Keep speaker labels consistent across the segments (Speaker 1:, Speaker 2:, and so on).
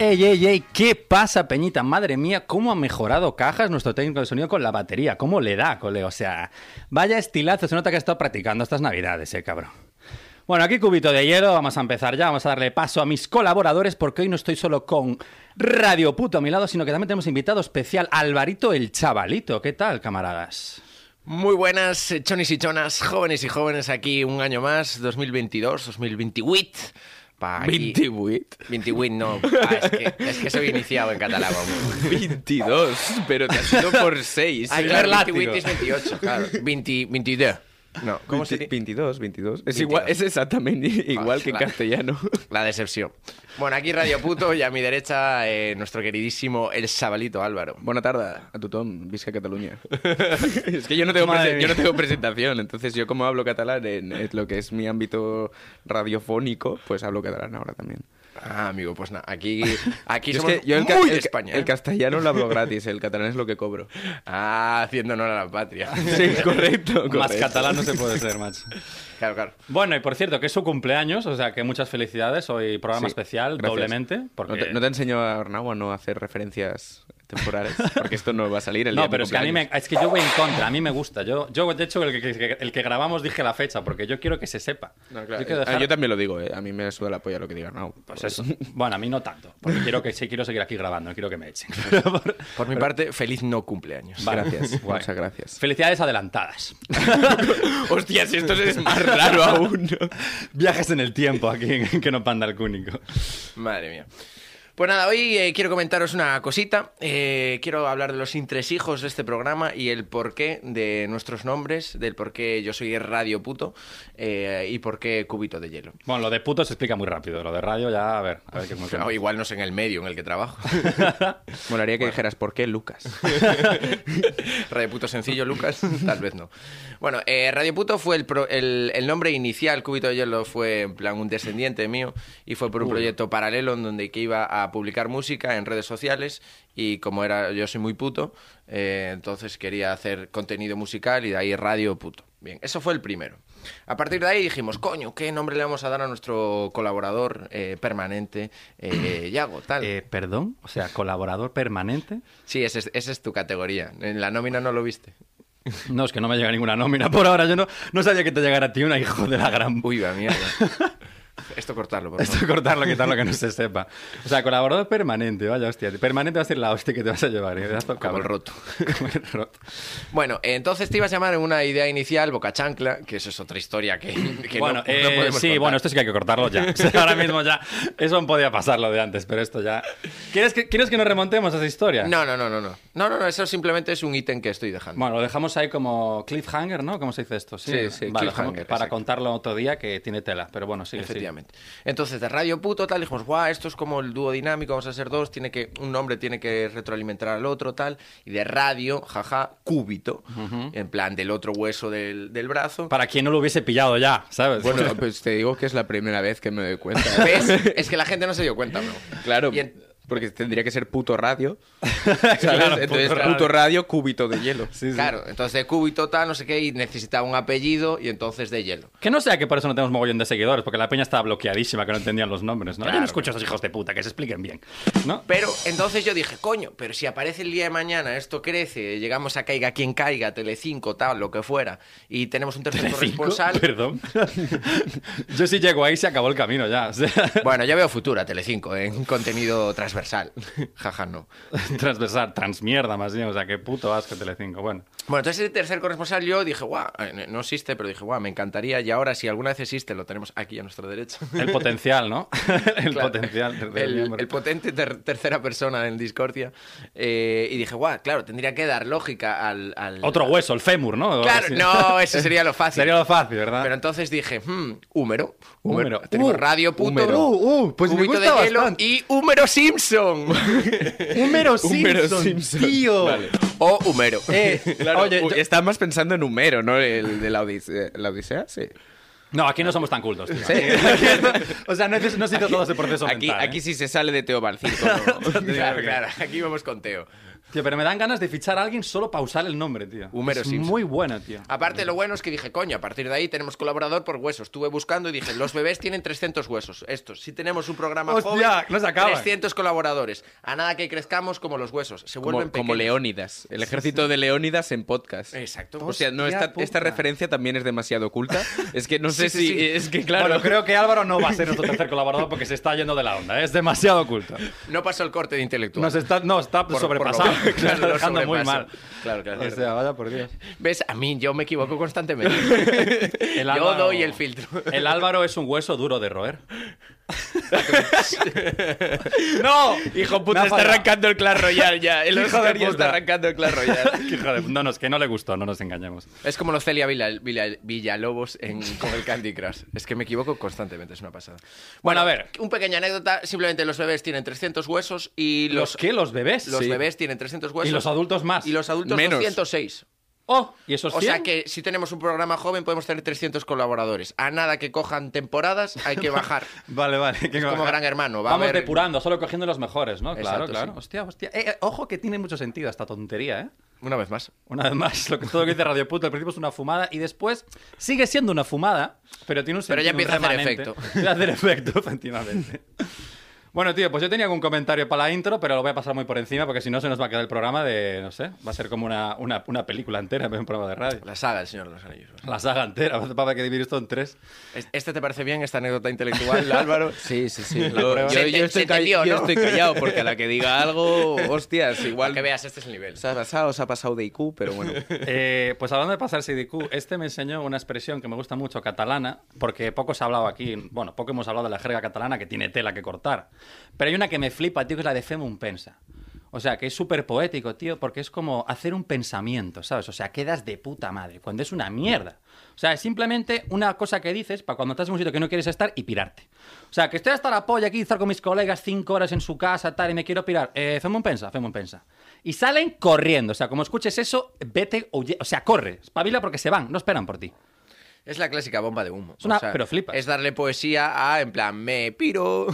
Speaker 1: Ey, ey, ey, ¿qué pasa, Peñita? Madre mía, cómo ha mejorado Cajas, nuestro técnico de sonido, con la batería. ¿Cómo le da, cole? O sea, vaya estilazo. Se nota que ha estado practicando estas navidades, eh, cabrón. Bueno, aquí cubito de hielo, vamos a empezar ya, vamos a darle paso a mis colaboradores porque hoy no estoy solo con Radio Puto a mi lado, sino que también tenemos invitado especial Alvarito el Chavalito. ¿Qué tal, camaradas?
Speaker 2: Muy buenas, eh, chonis y chonas, jóvenes y jóvenes, aquí un año más, 2022, 2028. Pa aquí-
Speaker 3: 28,
Speaker 2: 28, no. Ah, es, que, es que soy iniciado en catalán. vamos.
Speaker 3: 22, pero te has ido por 6.
Speaker 2: Ah, claro, 28 es 28, claro. 20, 22. No, ¿cómo se dice?
Speaker 3: 22, 22. Es,
Speaker 2: 22.
Speaker 3: Igual, es exactamente igual que en
Speaker 2: Vale.
Speaker 3: castellano.
Speaker 2: La decepción. Bueno, aquí Radio Puto y a mi derecha eh, nuestro queridísimo El Sabalito Álvaro.
Speaker 3: Buena tarde a tu Tom, Visca Cataluña. es que yo no, tengo
Speaker 1: Madre
Speaker 3: prese-
Speaker 1: mía.
Speaker 3: yo no tengo presentación, entonces yo como hablo catalán en, en lo que es mi ámbito radiofónico, pues hablo catalán ahora también.
Speaker 2: Ah, amigo, pues nada, aquí, aquí
Speaker 3: Yo es
Speaker 2: somos
Speaker 3: que yo el, ca-
Speaker 2: muy
Speaker 3: el
Speaker 2: de
Speaker 3: ca-
Speaker 2: España.
Speaker 3: el
Speaker 2: ¿eh?
Speaker 3: castellano lo hablo gratis, el catalán es lo que cobro.
Speaker 2: Ah, haciendo honor a la patria.
Speaker 3: Sí, correcto.
Speaker 1: Más
Speaker 3: correcto.
Speaker 1: catalán no se puede ser, macho.
Speaker 2: Claro, claro.
Speaker 1: Bueno, y por cierto, que es su cumpleaños, o sea que muchas felicidades. Hoy programa
Speaker 3: Sí,
Speaker 1: especial,
Speaker 3: gracias.
Speaker 1: doblemente. Porque...
Speaker 3: No, te, no te enseño a Arnau a no hacer referencias temporales, porque esto no va a salir el día
Speaker 1: No,
Speaker 3: de
Speaker 1: pero
Speaker 3: mi
Speaker 1: es que a mí me,
Speaker 3: cumpleaños.
Speaker 1: es que yo voy en contra, a mí me gusta. Yo, yo de hecho, el que, el que grabamos dije la fecha, porque yo quiero que se sepa.
Speaker 3: No, claro,
Speaker 1: yo quiero
Speaker 3: eh, ah,
Speaker 1: dejar-
Speaker 3: yo también lo digo, eh, a mí me suda la polla lo que diga Arnau.
Speaker 1: Pues eso. Bueno, a mí no tanto, porque quiero, que, sí, quiero seguir aquí grabando, no quiero que me echen. Vale.
Speaker 2: Por mi parte, feliz no cumpleaños.
Speaker 3: Pues Gracias,
Speaker 1: Guay.
Speaker 3: muchas gracias.
Speaker 1: Felicidades adelantadas.
Speaker 3: Hostias, esto es más raro aún.
Speaker 1: Viajes en el tiempo aquí en que no panda el cúnico.
Speaker 2: Madre mía. Pues nada, hoy eh, quiero comentaros una cosita. Eh, quiero hablar de los intresijos de este programa y el porqué de nuestros nombres, del por qué yo soy Radio Puto eh, y por qué Cubito de Hielo.
Speaker 1: Bueno, lo de puto se explica muy rápido, lo de radio ya, a ver, a ver qué cómo-
Speaker 2: O igual no sé en el medio en el que trabajo.
Speaker 3: Molaría que dijeras, ¿por qué Lucas?
Speaker 2: Radio Puto sencillo, Lucas, tal vez no. Bueno, eh, Radio Puto fue el, pro- el, el nombre inicial, Cúbito de Hielo fue en plan un descendiente mío y fue por un proyecto paralelo en donde que iba a publicar música en redes sociales y como era yo soy muy puto, eh, entonces quería hacer contenido musical y de ahí Radio Puto. Bien, eso fue el primero. A partir de ahí dijimos, coño, ¿qué nombre le vamos a dar a nuestro colaborador eh, permanente, eh, Yago, tal?
Speaker 1: Eh, Perdón, o sea, colaborador permanente.
Speaker 2: Sí, esa es- esa es tu categoría. En la nómina no lo viste.
Speaker 1: No, es que no me llega ninguna nómina por ahora. Yo no, no sabía que te llegara a ti una hijo de la gran
Speaker 2: Uy, va mierda. Esto cortarlo, por
Speaker 1: Esto
Speaker 2: favor.
Speaker 1: cortarlo, quitarlo, que no se sepa. O sea, colaborador permanente, vaya hostia. Permanente va a ser la hostia que te vas a llevar. ¿eh? Hasta
Speaker 2: Como el roto.
Speaker 1: Como el roto.
Speaker 2: Bueno, eh, entonces te ibas a llamar en una idea inicial Boca Chancla, que eso es otra historia que, que no-
Speaker 1: bueno,
Speaker 2: no,
Speaker 1: eh,
Speaker 2: podemos
Speaker 1: sí,
Speaker 2: contar.
Speaker 1: bueno, esto sí que hay que cortarlo ya. O sea, ahora mismo ya. Eso podía pasar lo de antes, pero esto ya. ¿Quieres que, ¿Quieres que nos remontemos a esa historia?
Speaker 2: No, no, no, no, no. No, no, no, eso simplemente es un ítem que estoy dejando.
Speaker 1: Bueno, lo dejamos ahí como cliffhanger, ¿no? ¿Cómo se dice esto? Sí,
Speaker 2: Sí, sí,
Speaker 1: Vale, lo dejamos
Speaker 2: cliffhanger,
Speaker 1: Para
Speaker 2: exacto.
Speaker 1: contarlo otro día que tiene tela, pero bueno, sí.
Speaker 2: Efectivamente. Entonces, de Radio Puto, tal, dijimos, guau, esto es como el dúo dinámico, vamos a ser dos, tiene que, un hombre tiene que retroalimentar al otro, tal, y de radio, jaja, cúbito, en plan del otro hueso del, del brazo.
Speaker 1: Para quien no lo hubiese pillado ya, ¿sabes?
Speaker 3: Bueno, pues te digo que es la primera vez que me doy cuenta.
Speaker 2: ¿Ves? es que la gente no se dio cuenta, bro.
Speaker 3: Claro,
Speaker 2: Y en-
Speaker 3: porque tendría que ser puto radio. ¿sabes?
Speaker 1: Claro, puto
Speaker 3: Entonces, puto,
Speaker 1: radio.
Speaker 3: radio, cúbito de hielo.
Speaker 1: Sí, sí.
Speaker 2: Claro, entonces de cúbito tal, no sé qué, y necesitaba un apellido y entonces de hielo.
Speaker 1: Que no sea que por eso no tenemos mogollón de seguidores, porque la peña estaba bloqueadísima, que no entendían los nombres, ¿no? Yo no
Speaker 2: Claro.
Speaker 1: escucho a esos hijos de puta, que se expliquen bien, ¿no?
Speaker 2: Pero entonces yo dije, coño, pero si aparece el día de mañana, esto crece, llegamos a caiga quien caiga, Telecinco, tal, lo que fuera, y tenemos un tercer
Speaker 1: Telecinco,
Speaker 2: corresponsal.
Speaker 1: Perdón. Yo sí llego ahí, se acabó el camino ya. o sea.
Speaker 2: Bueno, ya veo futura Telecinco ¿eh? en contenido transversal. Jaja, no.
Speaker 1: Transversal, transmierda más bien. O sea, qué puto asco Telecinco. Bueno,
Speaker 2: Bueno, entonces el tercer corresponsal yo dije, guau, eh, no existe, pero dije, guau, me encantaría. Y ahora, si alguna vez existe, lo tenemos aquí a nuestra derecha.
Speaker 1: el potencial, ¿no? el
Speaker 2: Claro.
Speaker 1: potencial. tercer
Speaker 2: El,
Speaker 1: miembro.
Speaker 2: el potente ter- tercera persona en Discordia. Eh, y dije, guau, claro, tendría que dar lógica al. al-
Speaker 1: Otro hueso, el fémur, ¿no?
Speaker 2: Claro,
Speaker 1: Sí.
Speaker 2: no, eso sería lo fácil.
Speaker 1: Sería lo fácil, ¿verdad?
Speaker 2: Pero entonces dije, hmm, húmero.
Speaker 1: Húmero.
Speaker 2: Húmero. Tenemos
Speaker 1: Uh,
Speaker 2: radio puto.
Speaker 1: húmero. Uh, uh, pues me
Speaker 2: cubito
Speaker 1: gusta
Speaker 2: de hielo
Speaker 1: bastante.
Speaker 2: y húmero Simpson.
Speaker 1: Húmero
Speaker 4: Homero
Speaker 1: Simpson,
Speaker 4: Simpson.
Speaker 1: tío.
Speaker 2: o húmero.
Speaker 1: Eh,
Speaker 4: Claro,
Speaker 1: oye,
Speaker 4: uy,
Speaker 1: yo-
Speaker 4: estábamos pensando en Homero, ¿no? El de la
Speaker 3: eh,
Speaker 4: Odisea, ¿la Odisea? sí.
Speaker 1: No, aquí no somos tan cultos, tío.
Speaker 4: Sí.
Speaker 1: Aquí- o sea, no, es- no se hizo todo ese proceso
Speaker 4: Aquí,
Speaker 1: mental, ¿eh?
Speaker 4: aquí sí se sale de Teo Balcín. como-
Speaker 2: claro, claro. Aquí vamos con Teo.
Speaker 1: Tío, pero me dan ganas de fichar a alguien solo para usar el nombre, tío.
Speaker 2: Homero
Speaker 1: es
Speaker 2: Simpson. Ah,
Speaker 1: muy buena, tío.
Speaker 2: Aparte, lo bueno es que dije, coño, a partir de ahí tenemos colaborador por huesos. Estuve buscando y dije, los bebés tienen 300 huesos. Estos, si tenemos un programa
Speaker 1: Hostia,
Speaker 2: joven,
Speaker 1: no se acaba.
Speaker 2: 300 colaboradores. A nada que crezcamos como los huesos. Se
Speaker 4: Como,
Speaker 2: vuelven
Speaker 4: como
Speaker 2: pequeños.
Speaker 4: Leónidas. El ejército de Leónidas en podcast.
Speaker 2: Exacto.
Speaker 4: O sea, no, esta,
Speaker 1: puta.
Speaker 4: esta referencia también es demasiado oculta. Es que no sé
Speaker 2: Sí, sí,
Speaker 4: si.
Speaker 2: sí.
Speaker 4: Es que, claro.
Speaker 1: Bueno, creo que Álvaro no va a ser nuestro tercer colaborador porque se está yendo de la onda. ¿eh? Es demasiado oculto.
Speaker 2: No pasó el corte de intelectual.
Speaker 1: Nos está, no, está
Speaker 2: Por-
Speaker 1: sobrepasado.
Speaker 2: por lo-
Speaker 1: Nos está
Speaker 2: lo
Speaker 1: dejando muy
Speaker 2: sobrepaso.
Speaker 1: mal.
Speaker 2: Claro, claro.
Speaker 1: O sea, vaya por Dios.
Speaker 2: ¿Ves? A mí yo me equivoco constantemente.
Speaker 1: El
Speaker 2: yo
Speaker 1: Álvaro-
Speaker 2: doy el filtro.
Speaker 1: El Álvaro es un hueso duro de roer. ¡No!
Speaker 4: Hijo
Speaker 1: Me
Speaker 4: puta,
Speaker 1: ha
Speaker 4: está
Speaker 1: fallado.
Speaker 4: arrancando el Clash Royale ya. El
Speaker 1: Hijo de
Speaker 4: Oscar ya
Speaker 1: puta.
Speaker 4: está arrancando el Clash Royale.
Speaker 1: Qué hijo de- No, no, es que no le gustó, no nos engañemos.
Speaker 2: Es como los Celia Vila- Vila- Villalobos en, con el Candy Crush. Es que me equivoco constantemente, es una pasada.
Speaker 1: Bueno, a ver.
Speaker 2: Un pequeña anécdota, simplemente los bebés tienen 300 huesos y
Speaker 1: ¿Y los
Speaker 2: los...
Speaker 1: qué? ¿Los bebés?
Speaker 2: Los
Speaker 1: Sí.
Speaker 2: bebés tienen 300 huesos.
Speaker 1: Y los adultos más.
Speaker 2: Y los adultos
Speaker 4: Menos.
Speaker 2: 206.
Speaker 1: ¡Oh! ¿Y esos
Speaker 2: O sea
Speaker 1: 100?
Speaker 2: que si tenemos un programa joven podemos tener 300 colaboradores. A nada que cojan temporadas hay que bajar.
Speaker 1: Vale, vale. que
Speaker 2: como
Speaker 1: bajar.
Speaker 2: Gran Hermano, va a
Speaker 1: Vamos
Speaker 2: haber-
Speaker 1: depurando, solo cogiendo los mejores, ¿no? Claro,
Speaker 2: Exacto,
Speaker 1: claro.
Speaker 2: sí.
Speaker 1: Hostia, hostia. Eh, eh, ojo que tiene mucho sentido esta tontería, ¿eh?
Speaker 2: Una vez más.
Speaker 1: Una vez más, lo que todo lo que dice Radio Puto al principio es una fumada y después sigue siendo una fumada, pero tiene un
Speaker 2: Pero ya
Speaker 1: sentido, un
Speaker 2: empieza a hacer
Speaker 1: remanente.
Speaker 2: efecto.
Speaker 1: Empieza a hacer efecto, efectivamente. Bueno, tío, pues yo tenía algún comentario para la intro, pero lo voy a pasar muy por encima porque si no se nos va a quedar el programa de, no sé, va a ser como una, una, una película entera, un programa de radio.
Speaker 2: La saga del Señor de los Anillos.
Speaker 1: La saga entera, va a que dividir esto en tres.
Speaker 2: Es- ¿Este te parece bien, esta anécdota intelectual, Álvaro?
Speaker 4: Sí, sí, sí.
Speaker 2: prueba.
Speaker 4: yo,
Speaker 2: Se te-
Speaker 4: yo estoy
Speaker 2: se entendió,
Speaker 4: call- yo
Speaker 2: ¿no?
Speaker 4: estoy callado porque a la que diga algo, hostias,
Speaker 2: Igual
Speaker 4: igual.
Speaker 2: que veas, este es el nivel.
Speaker 4: Os ha pasado, os ha pasado de IQ, pero bueno.
Speaker 1: Eh, pues hablando de pasar CDQ, este me enseñó una expresión que me gusta mucho, catalana, porque poco se ha hablado aquí, bueno, poco hemos hablado de la jerga catalana que tiene tela que cortar. Pero hay una que me flipa, tío, que es la de femum pensa. O sea, que es súper poético, tío, porque es como hacer un pensamiento, ¿sabes? O sea, quedas de puta madre, cuando es una mierda. O sea, es simplemente una cosa que dices para cuando estás en un sitio que no quieres estar y pirarte. O sea, que estoy hasta la polla aquí, estar con mis colegas cinco horas en su casa, tal, y me quiero pirar. Eh, fem un pensa, fem un pensa. Y salen corriendo. O sea, como escuches eso, vete, huye- o sea, corre, espabila porque se van, no esperan por ti.
Speaker 2: Es la clásica bomba de humo.
Speaker 1: Es una-
Speaker 2: O sea,
Speaker 1: pero flipas.
Speaker 2: Es darle poesía a, en plan, me piro.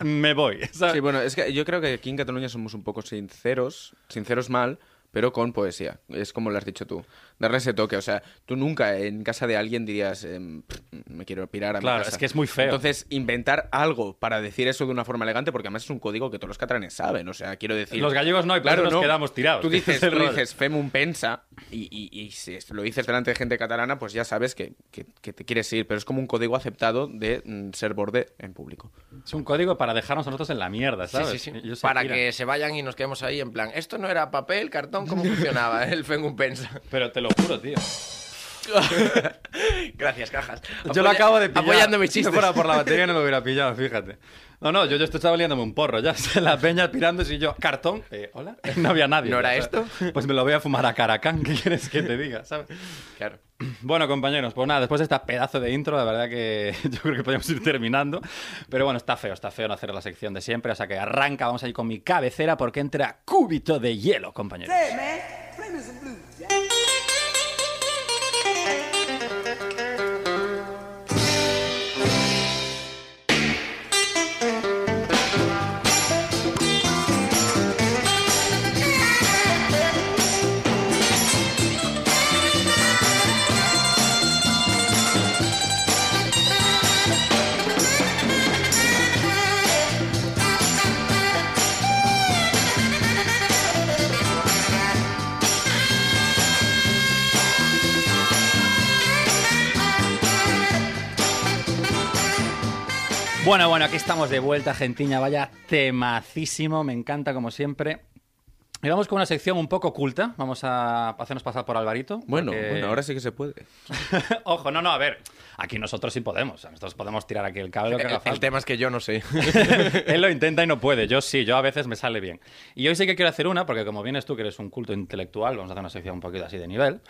Speaker 1: me voy. ¿sabes?
Speaker 4: Sí, bueno, es que yo creo que aquí en Cataluña somos un poco sinceros, sinceros mal, pero con poesía. Es como lo has dicho tú. Darle ese toque. O sea, tú nunca en casa de alguien dirías, em, pff, me quiero pirar a mi
Speaker 1: Claro,
Speaker 4: casa.
Speaker 1: es que es muy feo.
Speaker 4: Entonces, inventar algo para decir eso de una forma elegante, porque además es un código que todos los catalanes saben. O sea, quiero decir.
Speaker 1: Los gallegos no, y por eso nos quedamos tirados.
Speaker 4: Tú dices,
Speaker 1: Ese es el
Speaker 4: tú
Speaker 1: rollo.
Speaker 4: dices femum pensa, y, y- y si lo dices delante de gente catalana, pues ya sabes que, que- que te quieres ir. Pero es como un código aceptado de mm, ser borde en público.
Speaker 1: Es un código para dejarnos a nosotros en la mierda, ¿sabes?
Speaker 2: Sí, sí, sí.
Speaker 1: Ellos se
Speaker 2: Para
Speaker 1: piran.
Speaker 2: que se vayan y nos quedemos ahí, en plan, esto no era papel, cartón, ¿cómo funcionaba eh, el Fengum Pensa?
Speaker 1: Pero te lo juro, tío.
Speaker 2: Gracias, cajas.
Speaker 1: Yo lo
Speaker 2: Apoya-
Speaker 1: acabo de pillar.
Speaker 2: Apoyando mis
Speaker 1: Si no
Speaker 2: chistes.
Speaker 1: fuera por la batería no lo hubiera pillado, fíjate. No, no, yo, yo estaba liándome un porro ya. La peña pirándose y yo, cartón, eh, hola, no había nadie.
Speaker 2: ¿No era
Speaker 1: O sea, Pues me lo voy a fumar a Caracán, ¿qué quieres que te diga? ¿sabes?
Speaker 2: Claro.
Speaker 1: Bueno, compañeros, pues nada, después de esta pedazo de intro, la verdad que yo creo que podemos ir terminando. Pero bueno, está feo, está feo no hacer la sección de siempre. O sea que arranca, vamos a ir con mi cabecera porque entra cúbito de hielo, compañeros. Bueno, bueno, aquí estamos de vuelta, gentiña. Vaya temacísimo, me encanta como siempre. Y vamos con una sección un poco oculta. Vamos a hacernos pasar por Alvarito.
Speaker 3: Bueno,
Speaker 1: porque-
Speaker 3: bueno, ahora sí que se puede.
Speaker 1: Ojo, no, no, a ver. Aquí nosotros sí podemos. Nosotros podemos tirar aquí el cable lo que haga
Speaker 2: El, el
Speaker 1: falta.
Speaker 2: tema es que yo no sé.
Speaker 1: Él lo intenta y no puede. Yo sí, yo a veces me sale bien. Y hoy sí que quiero hacer una, porque como vienes tú, que eres un culto intelectual, vamos a hacer una sección un poquito así de nivel.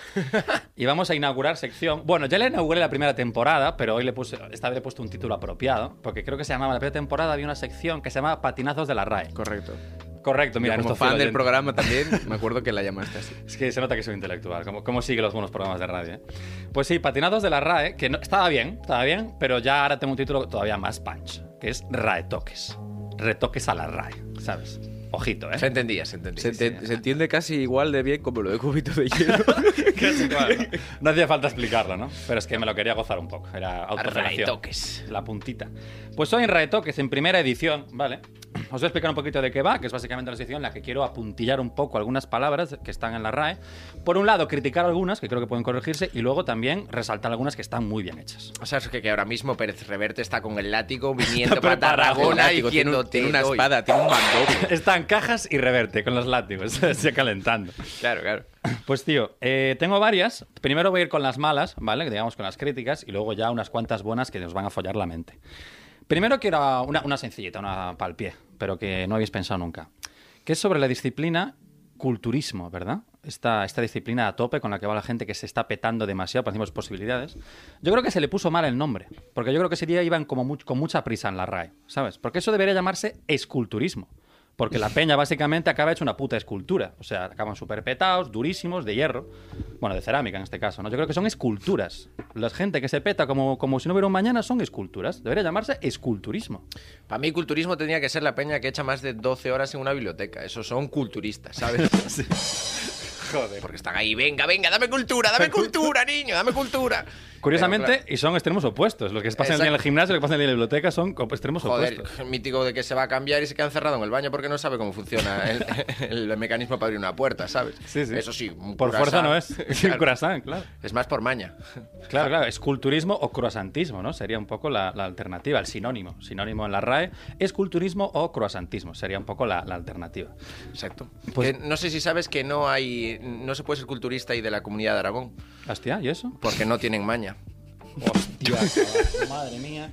Speaker 1: Y vamos a inaugurar sección. Bueno, ya la inauguré la primera temporada, pero hoy le puse, esta vez le he puesto un título apropiado, porque creo que se llamaba, la primera temporada había una sección que se llamaba Patinazos de la RAE.
Speaker 3: Correcto.
Speaker 2: Pues
Speaker 1: Correcto, mira,
Speaker 3: Yo como
Speaker 1: nuestro
Speaker 3: fan
Speaker 1: fiel
Speaker 3: del
Speaker 1: oyente.
Speaker 3: programa también, me acuerdo que la llamaste así.
Speaker 1: Es que se nota que soy intelectual. ¿Cómo, cómo sigue los buenos programas de radio? eh? Pues sí, Patinados de la RAE, que no- estaba bien, estaba bien, pero ya ahora tengo un título todavía más punch, que es RAE Toques. Retoques a la RAE, ¿sabes? Ojito,
Speaker 2: Se
Speaker 1: ¿eh?
Speaker 2: entendía, se entendía.
Speaker 3: Se, ente- se entiende casi igual de bien como lo de cubito de hielo.
Speaker 1: Casi igual, ¿no? No hacía falta explicarlo, ¿no? Pero es que me lo quería gozar un poco. Era autofelación.
Speaker 2: Raetoques.
Speaker 1: La puntita. Pues hoy en RAE Toques, en primera edición, ¿vale? Os voy a explicar un poquito de qué va, que es básicamente la sección en la que quiero apuntillar un poco algunas palabras que están en la RAE. Por un lado, criticar algunas, que creo que pueden corregirse, y luego también resaltar algunas que están muy bien hechas.
Speaker 2: O sea, es que, que ahora mismo Pérez Reverte está con el látigo viniendo para
Speaker 1: preparado.
Speaker 2: Tarragona y
Speaker 3: Látigo, tiene,
Speaker 2: diciendo
Speaker 3: un- tiene
Speaker 2: "Te
Speaker 3: una
Speaker 2: doy".
Speaker 3: espada, tiene un mandoble.
Speaker 1: Están cajas y reverte con los látigos, se calentando.
Speaker 3: Claro, claro.
Speaker 1: Pues tío, eh, tengo varias. Primero voy a ir con las malas, ¿vale? Digamos con las críticas y luego ya unas cuantas buenas que nos van a follar la mente. Primero quiero una, una sencillita, una pal pie, pero que no habéis pensado nunca. Que es sobre la disciplina culturismo, ¿verdad? Esta, esta disciplina a tope con la que va la gente que se está petando demasiado, para decimos posibilidades. Yo creo que se le puso mal el nombre, porque yo creo que ese día iban como much- con mucha prisa en la RAE, ¿sabes? Porque eso debería llamarse esculturismo. Porque la peña básicamente acaba hecho una puta escultura. O sea, acaban súper petados, durísimos, de hierro. Bueno, de cerámica en este caso, ¿no? Yo creo que son esculturas. La gente que se peta como, como si no hubiera un mañana son esculturas. Debería llamarse esculturismo.
Speaker 2: Para mí, culturismo tendría que ser la peña que echa más de 12 horas en una biblioteca. Esos son culturistas, ¿sabes? Joder. Porque están ahí, venga, venga, dame cultura, dame cultura, niño, dame cultura.
Speaker 1: Curiosamente,
Speaker 2: Pero,
Speaker 1: y son extremos opuestos. Los que pasan el día en el
Speaker 2: Exacto.
Speaker 1: gimnasio y los que pasan el día en la biblioteca son co- extremos
Speaker 2: claro, Joder,
Speaker 1: opuestos.
Speaker 2: el mítico de que se va a cambiar y se queda encerrado en el baño porque no sabe cómo funciona el, el mecanismo para abrir una puerta, ¿sabes? Eso sí, un
Speaker 1: Por
Speaker 2: curasán.
Speaker 1: fuerza no es. Sí, un
Speaker 2: Claro.
Speaker 1: croissant, claro.
Speaker 2: Es más por maña.
Speaker 1: Claro, claro, esculturismo o croasantismo, ¿no? Sería un poco la, la alternativa, el sinónimo. Sinónimo en la RAE, esculturismo o croasantismo. Sería un poco la, la alternativa.
Speaker 2: Exacto.
Speaker 1: Pues-
Speaker 2: Que no sé si sabes que no hay, no se puede ser culturista y de la comunidad de Aragón
Speaker 1: Hostia, ¿y eso?
Speaker 2: porque no tienen maña.
Speaker 1: Hostia, cabrón, madre mía.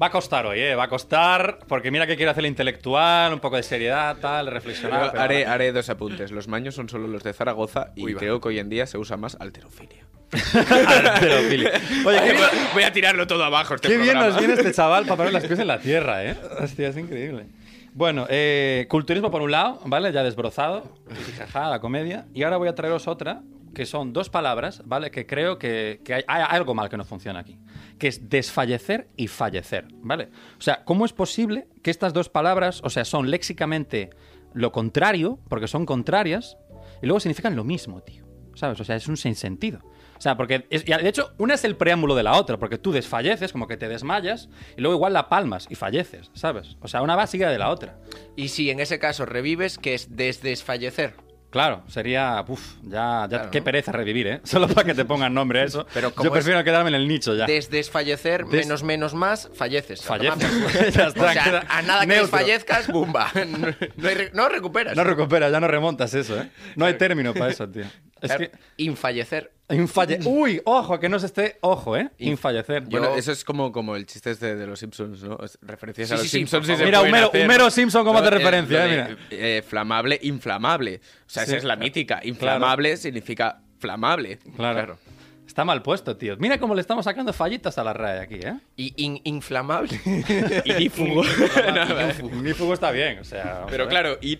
Speaker 1: Va a costar hoy, ¿eh? Va a costar, porque mira que quiero hacer el intelectual, un poco de seriedad, tal, reflexionar. pero
Speaker 3: haré,
Speaker 1: ahora-
Speaker 3: haré dos apuntes. Los maños son solo los de Zaragoza y
Speaker 2: Uy, va.
Speaker 3: creo que hoy en día se usa más alterofilia.
Speaker 1: Alterofilia. Oye, qué, bien-
Speaker 3: voy a tirarlo todo abajo este
Speaker 1: qué bien
Speaker 3: programa.
Speaker 1: nos viene este chaval para poner las pies en la tierra, ¿eh? Hostia, es increíble. Bueno, eh, culturismo por un lado, ¿vale? Ya desbrozado, jaja, la comedia. Y ahora voy a traeros otra, que son dos palabras, ¿vale? Que creo que, que hay, hay algo mal que no funciona aquí. Que es desfallecer y fallecer, ¿vale? O sea, ¿cómo es posible que estas dos palabras, o sea, son léxicamente lo contrario, porque son contrarias, y luego significan lo mismo, tío? ¿Sabes? O sea, es un sinsentido. O sea, porque. es- y de hecho, una es el preámbulo de la otra, porque tú desfalleces, como que te desmayas, y luego igual la palmas y falleces, ¿sabes? O sea, una va sigue de la otra.
Speaker 2: Y si en ese caso revives, que es desdesfallecer.
Speaker 1: Claro, sería. Uf, ya. ya-
Speaker 2: Claro,
Speaker 1: qué
Speaker 2: ¿no?
Speaker 1: pereza revivir, ¿eh? Solo para que te pongan nombre a eso.
Speaker 2: Pero como
Speaker 1: Yo
Speaker 2: es-
Speaker 1: prefiero quedarme en el nicho ya.
Speaker 2: Desdesfallecer,
Speaker 1: Des-
Speaker 2: menos menos más, falleces.
Speaker 1: Falleces. Ya está,
Speaker 2: o sea,
Speaker 1: queda
Speaker 2: a nada que
Speaker 1: neutro.
Speaker 2: desfallezcas, bumba. No, hay re- no recuperas.
Speaker 1: No recuperas, ya no remontas eso, ¿eh? No hay término para eso, tío. Es
Speaker 2: Claro,
Speaker 1: que.
Speaker 2: Infallecer.
Speaker 1: infalle- Uy, ojo, que no se esté. Ojo, ¿eh? Infallecer.
Speaker 3: Bueno,
Speaker 2: Yo-
Speaker 3: eso es como, como el chiste este de los Simpsons, ¿no? Es- Referencias
Speaker 2: Sí,
Speaker 3: a
Speaker 2: sí,
Speaker 3: los
Speaker 2: sí,
Speaker 3: Simpsons
Speaker 2: por
Speaker 3: y se
Speaker 2: favor.
Speaker 1: Mira,
Speaker 3: pueden
Speaker 1: Homero,
Speaker 3: hacer.
Speaker 1: Homero Simpson como
Speaker 3: Lo-
Speaker 1: hace
Speaker 3: eh,
Speaker 1: referencia,
Speaker 3: lo
Speaker 1: eh,
Speaker 3: de, eh, flamable, inflamable. O sea,
Speaker 1: Sí.
Speaker 3: esa es la mítica. Inflamable significa flamable.
Speaker 1: Claro. Está mal puesto, tío. Mira cómo le estamos sacando fallitas a la RAE aquí, ¿eh?
Speaker 2: Y in- inflamable.
Speaker 3: Y fugo.
Speaker 1: Ignífugo está bien, o sea. vamos a
Speaker 3: Pero
Speaker 1: ver.
Speaker 3: claro, in-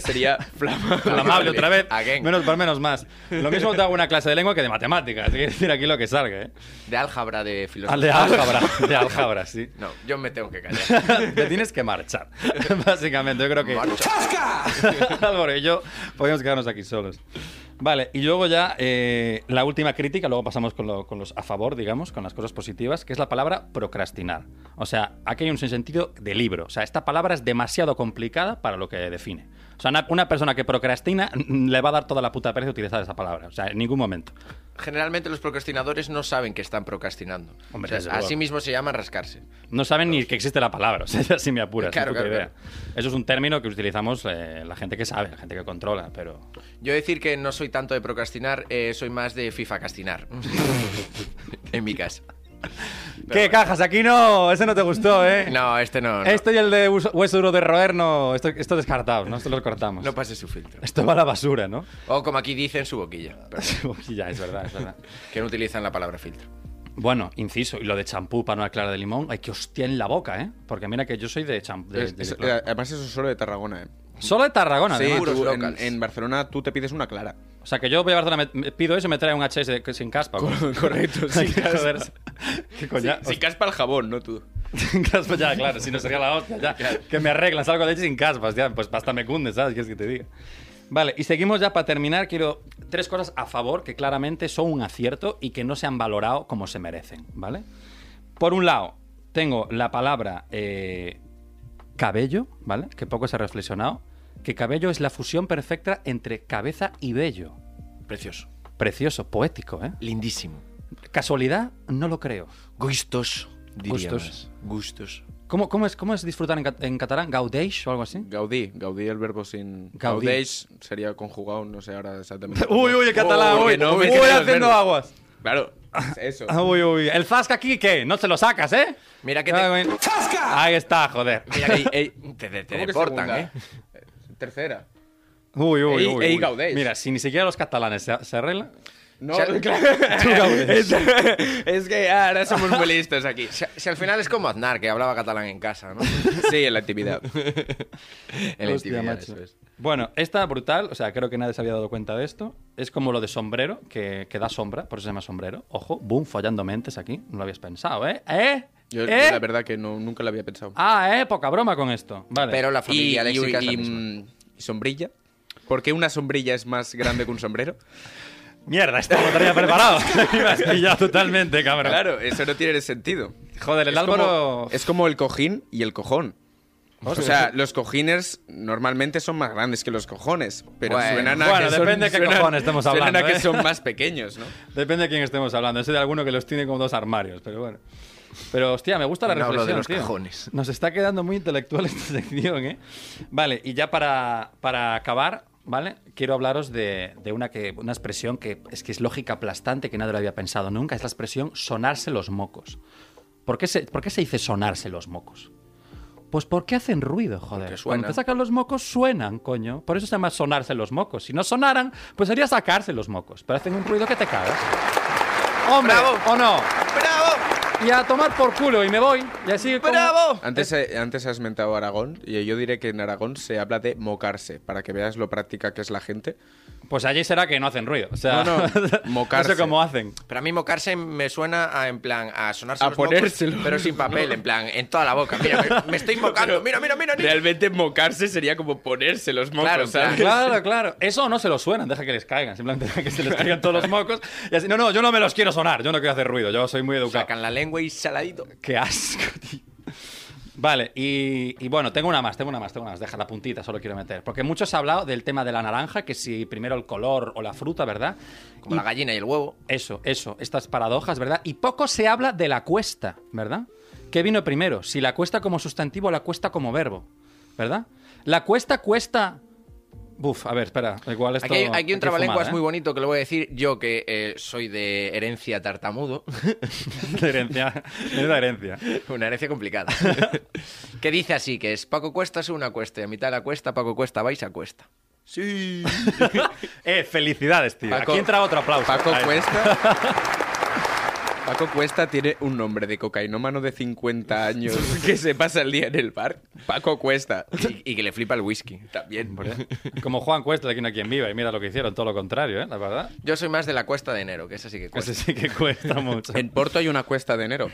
Speaker 3: sería flamable.
Speaker 1: Inflamable otra vez.
Speaker 2: Again.
Speaker 1: Menos por menos más. Lo mismo te hago una clase de lengua que de matemáticas. Así que decir aquí lo que salga, ¿eh?
Speaker 2: De
Speaker 1: Al
Speaker 2: álgebra de
Speaker 1: Ah, de
Speaker 2: filosofía.
Speaker 1: álgebra. De álgebra, sí.
Speaker 2: No, yo me tengo que callar.
Speaker 1: Te tienes que marchar. Básicamente, yo creo que. Álvaro y yo podíamos quedarnos aquí solos. Vale, y luego ya eh, la última crítica, luego pasamos con, lo- con los a favor, digamos, con las cosas positivas, que es la palabra procrastinar. O sea, aquí hay un sinsentido de libro. O sea, esta palabra es demasiado complicada para lo que define. O sea, una, una persona que procrastina mm, le va a dar toda la puta pereza utilizar esa palabra. O sea, en ningún momento.
Speaker 2: Generalmente los procrastinadores no saben que están procrastinando.
Speaker 1: Hombre,
Speaker 2: O sea,
Speaker 1: desde luego.
Speaker 2: así mismo se llama rascarse.
Speaker 1: No saben ni que existe la palabra, o sea, si me apuras.
Speaker 2: Claro,
Speaker 1: es poca
Speaker 2: claro,
Speaker 1: idea. Eso es un término que utilizamos eh, la gente que sabe, la gente que controla, pero...
Speaker 2: Yo decir que no soy tanto de procrastinar, eh, soy más de FIFA castinar. en mi caso.
Speaker 1: ¿Qué cajas? Aquí no, ese no te gustó, ¿eh?
Speaker 2: No, este no. no.
Speaker 1: Este y el de hueso- hueso duro de roer, no, esto, esto descartados, ¿no? Esto lo cortamos.
Speaker 2: No pase su filtro.
Speaker 1: esto va a la basura, ¿no?
Speaker 2: O como aquí dicen, su boquilla. Pero
Speaker 1: ya, es verdad, es verdad.
Speaker 2: que no utilizan la palabra filtro.
Speaker 1: Bueno, inciso, y lo de champú para una clara de limón, hay que hostia en la boca, ¿eh? Porque mira que yo soy de champú. de-
Speaker 4: Es-
Speaker 1: de
Speaker 4: es-
Speaker 1: clara.
Speaker 4: además, eso es solo de Tarragona, ¿eh?
Speaker 1: Solo de Tarragona,
Speaker 4: Sí,
Speaker 1: además.
Speaker 2: puros
Speaker 4: tú, en,
Speaker 2: locals.
Speaker 4: en Barcelona tú te pides una clara.
Speaker 1: O sea, que yo voy a Barcelona, me- me pido eso y me trae un HS de- sin caspa. güey.
Speaker 4: Correcto,
Speaker 1: Hay
Speaker 4: sí.
Speaker 1: que joderse. ¿Qué coña?
Speaker 4: Si caspa el jabón, ¿no tú?
Speaker 1: Sin caspa ya, claro, si no sería la hostia, ya. Que me arreglan, salgo de allí sin caspa, hostia, pues hasta me cunde, ¿sabes? ¿Quieres que te diga? Vale, y seguimos ya para terminar. Quiero tres cosas a favor que claramente son un acierto y que no se han valorado como se merecen, ¿vale? Por un lado, tengo la palabra eh, cabello, ¿vale? Que poco se ha reflexionado. Que cabello es la fusión perfecta entre cabeza y vello.
Speaker 2: Precioso.
Speaker 1: Precioso, poético, ¿eh?
Speaker 2: Lindísimo.
Speaker 1: ¿Casualidad? No lo creo.
Speaker 2: Gustoso,
Speaker 1: Gustoso.
Speaker 2: diríamos. Gustoso.
Speaker 1: ¿Cómo, cómo es, cómo es disfrutar en, cat- en catalán? ¿Gaudeix o algo así?
Speaker 4: Gaudí. Gaudí el verbo sin...
Speaker 1: Gaudí.
Speaker 4: Gaudeix sería conjugado, no sé ahora exactamente.
Speaker 1: Uy, uy, el catalán,
Speaker 4: Uy,
Speaker 1: uy,
Speaker 4: que no me
Speaker 1: uy,
Speaker 4: queden los
Speaker 1: haciendo
Speaker 4: verbos.
Speaker 1: aguas.
Speaker 4: Claro, eso.
Speaker 1: Ah, Uy, uy, el Zasca aquí, ¿qué? No te lo sacas, ¿eh?
Speaker 2: Mira que
Speaker 1: Ah,
Speaker 2: te-
Speaker 1: bueno. Ahí está, joder.
Speaker 2: Mira que te, te- te
Speaker 4: ¿Cómo que
Speaker 2: deportan,
Speaker 4: segunda?
Speaker 2: ¿eh?
Speaker 4: Eh, Tercera.
Speaker 1: Uy, uy,
Speaker 4: Ey,
Speaker 1: uy.
Speaker 4: ey,
Speaker 1: uy.
Speaker 4: Gaudés.
Speaker 1: Mira, si ni siquiera los catalanes se, se arreglan.
Speaker 4: No,
Speaker 2: O sea,
Speaker 1: Tú, Gaudés.
Speaker 4: es, es que ahora somos muy listos aquí.
Speaker 2: Si, si al final es como Aznar, que hablaba catalán en casa, ¿no?
Speaker 4: Sí, en la actividad.
Speaker 2: En la
Speaker 1: Hostia,
Speaker 2: intimidad,
Speaker 1: macho.
Speaker 2: eso es.
Speaker 1: Bueno, esta brutal, o sea, creo que nadie se había dado cuenta de esto. Es como lo de sombrero, que, que da sombra, por eso se llama sombrero. Ojo, boom, follando mentes aquí. No lo habías pensado, ¿eh? ¿Eh?
Speaker 4: Yo, yo
Speaker 1: ¿Eh?
Speaker 4: la verdad que no, nunca la había pensado.
Speaker 1: Ah, ¿eh? Poca broma con esto. Vale.
Speaker 2: Pero la familia léxica es la misma.
Speaker 4: mm, ¿y sombrilla. ¿Por qué una sombrilla es más grande que un sombrero?
Speaker 1: Mierda, esto no lo tenía preparado. Me has pillado totalmente, cabrón.
Speaker 4: Claro, eso no tiene sentido.
Speaker 1: Joder, el
Speaker 4: Es como-
Speaker 1: Álvaro...
Speaker 4: es como el cojín y el cojón. O
Speaker 1: Hostia.
Speaker 4: sea, los cojines normalmente son más grandes que los cojones, pero
Speaker 2: Bueno,
Speaker 4: suenan a
Speaker 1: bueno,
Speaker 4: que son-
Speaker 1: depende de qué
Speaker 4: suenan-
Speaker 1: cojones estamos
Speaker 4: suenan
Speaker 1: hablando,
Speaker 4: a que
Speaker 1: ¿eh?
Speaker 4: son más pequeños, ¿no?
Speaker 1: Depende de quién estemos hablando. Ese de alguno que los tiene como dos armarios, pero bueno. Pero, hostia, me gusta la
Speaker 2: No hablo
Speaker 1: reflexión,
Speaker 2: de los
Speaker 1: tío.
Speaker 2: cajones.
Speaker 1: Nos está quedando muy intelectual esta sección, ¿eh? Vale, y ya para, para acabar, ¿vale? Quiero hablaros de, de una, que, una expresión que es que es lógica aplastante, que nadie lo había pensado nunca. Es la expresión sonarse los mocos. ¿Por qué se, por qué se dice sonarse los mocos? Pues porque hacen ruido, joder.
Speaker 2: Porque suenan.
Speaker 1: Cuando te sacan los mocos, suenan, coño. Por eso se llama sonarse los mocos. Si no sonaran, pues sería sacarse los mocos. Pero hacen un ruido que te cagas. ¡Hombre!
Speaker 2: Bravo.
Speaker 1: ¿O no?
Speaker 2: ¡Bravo!
Speaker 1: Y a tomar por culo y me voy. Y así como-
Speaker 2: ¡Bravo!
Speaker 4: Antes, eh, antes has mentado Aragón y yo diré que en Aragón se habla de mocarse, para que veas lo práctica que es la gente.
Speaker 1: Pues allí será que no hacen ruido. O sea,
Speaker 4: No, no,
Speaker 1: No
Speaker 4: mocarse.
Speaker 1: sé cómo hacen.
Speaker 2: Pero a mí mocarse me suena a, en plan, a sonarse
Speaker 4: A
Speaker 2: los mocos,
Speaker 4: ponérselo.
Speaker 2: pero sin papel, en plan, en toda la boca. Mira, me, me estoy mocando. Mira, mira, mira. ni-
Speaker 4: Realmente mocarse sería como ponerse los mocos,
Speaker 2: Claro,
Speaker 4: ¿sabes?
Speaker 1: Claro, claro. Eso no se los suenan, deja que les caigan. Simplemente deja que se les caigan todos los mocos. Y así, no, no, yo no me los quiero sonar. Yo no quiero hacer ruido. Yo soy muy educado.
Speaker 2: Sacan la lengua y saladito.
Speaker 1: Qué asco, tío. Vale, y, y bueno, tengo una más, tengo una más, tengo una más. Deja la puntita, solo quiero meter. Porque muchos se ha hablado del tema de la naranja, que si primero el color o la fruta, ¿verdad?
Speaker 2: Como la gallina y el huevo.
Speaker 1: Eso, eso, estas paradojas, ¿verdad? Y poco se habla de la cuesta, ¿verdad? ¿Qué vino primero? Si la cuesta como sustantivo o la cuesta como verbo, ¿verdad? La cuesta cuesta... Buf, a ver, espera, igual esto...
Speaker 2: Aquí hay, aquí un trabalenguas
Speaker 1: fumada, ¿eh?
Speaker 2: muy bonito que lo voy a decir yo, que eh, soy de herencia tartamudo.
Speaker 1: De herencia, es de herencia.
Speaker 2: Una herencia complicada. que dice así, que es Paco Cuesta sube una cuesta y a mitad de la cuesta Paco Cuesta vais a cuesta.
Speaker 4: Sí.
Speaker 1: Eh, felicidades, tío.
Speaker 4: Paco-
Speaker 1: aquí entra otro aplauso.
Speaker 4: Paco
Speaker 1: Ahí está.
Speaker 4: Cuesta. Paco Cuesta tiene un nombre de cocainómano de 50 años que se pasa el día en el bar. Paco Cuesta.
Speaker 2: Y, y que le flipa el whisky. También.
Speaker 1: Hombre, Como Juan Cuesta, de aquí no hay quien viva, y mira lo que hicieron, todo lo contrario, ¿eh? La verdad.
Speaker 2: Yo soy más de la cuesta de enero, que esa sí que cuesta.
Speaker 1: Ese sí que cuesta mucho.
Speaker 4: Pues En Porto hay una cuesta de enero.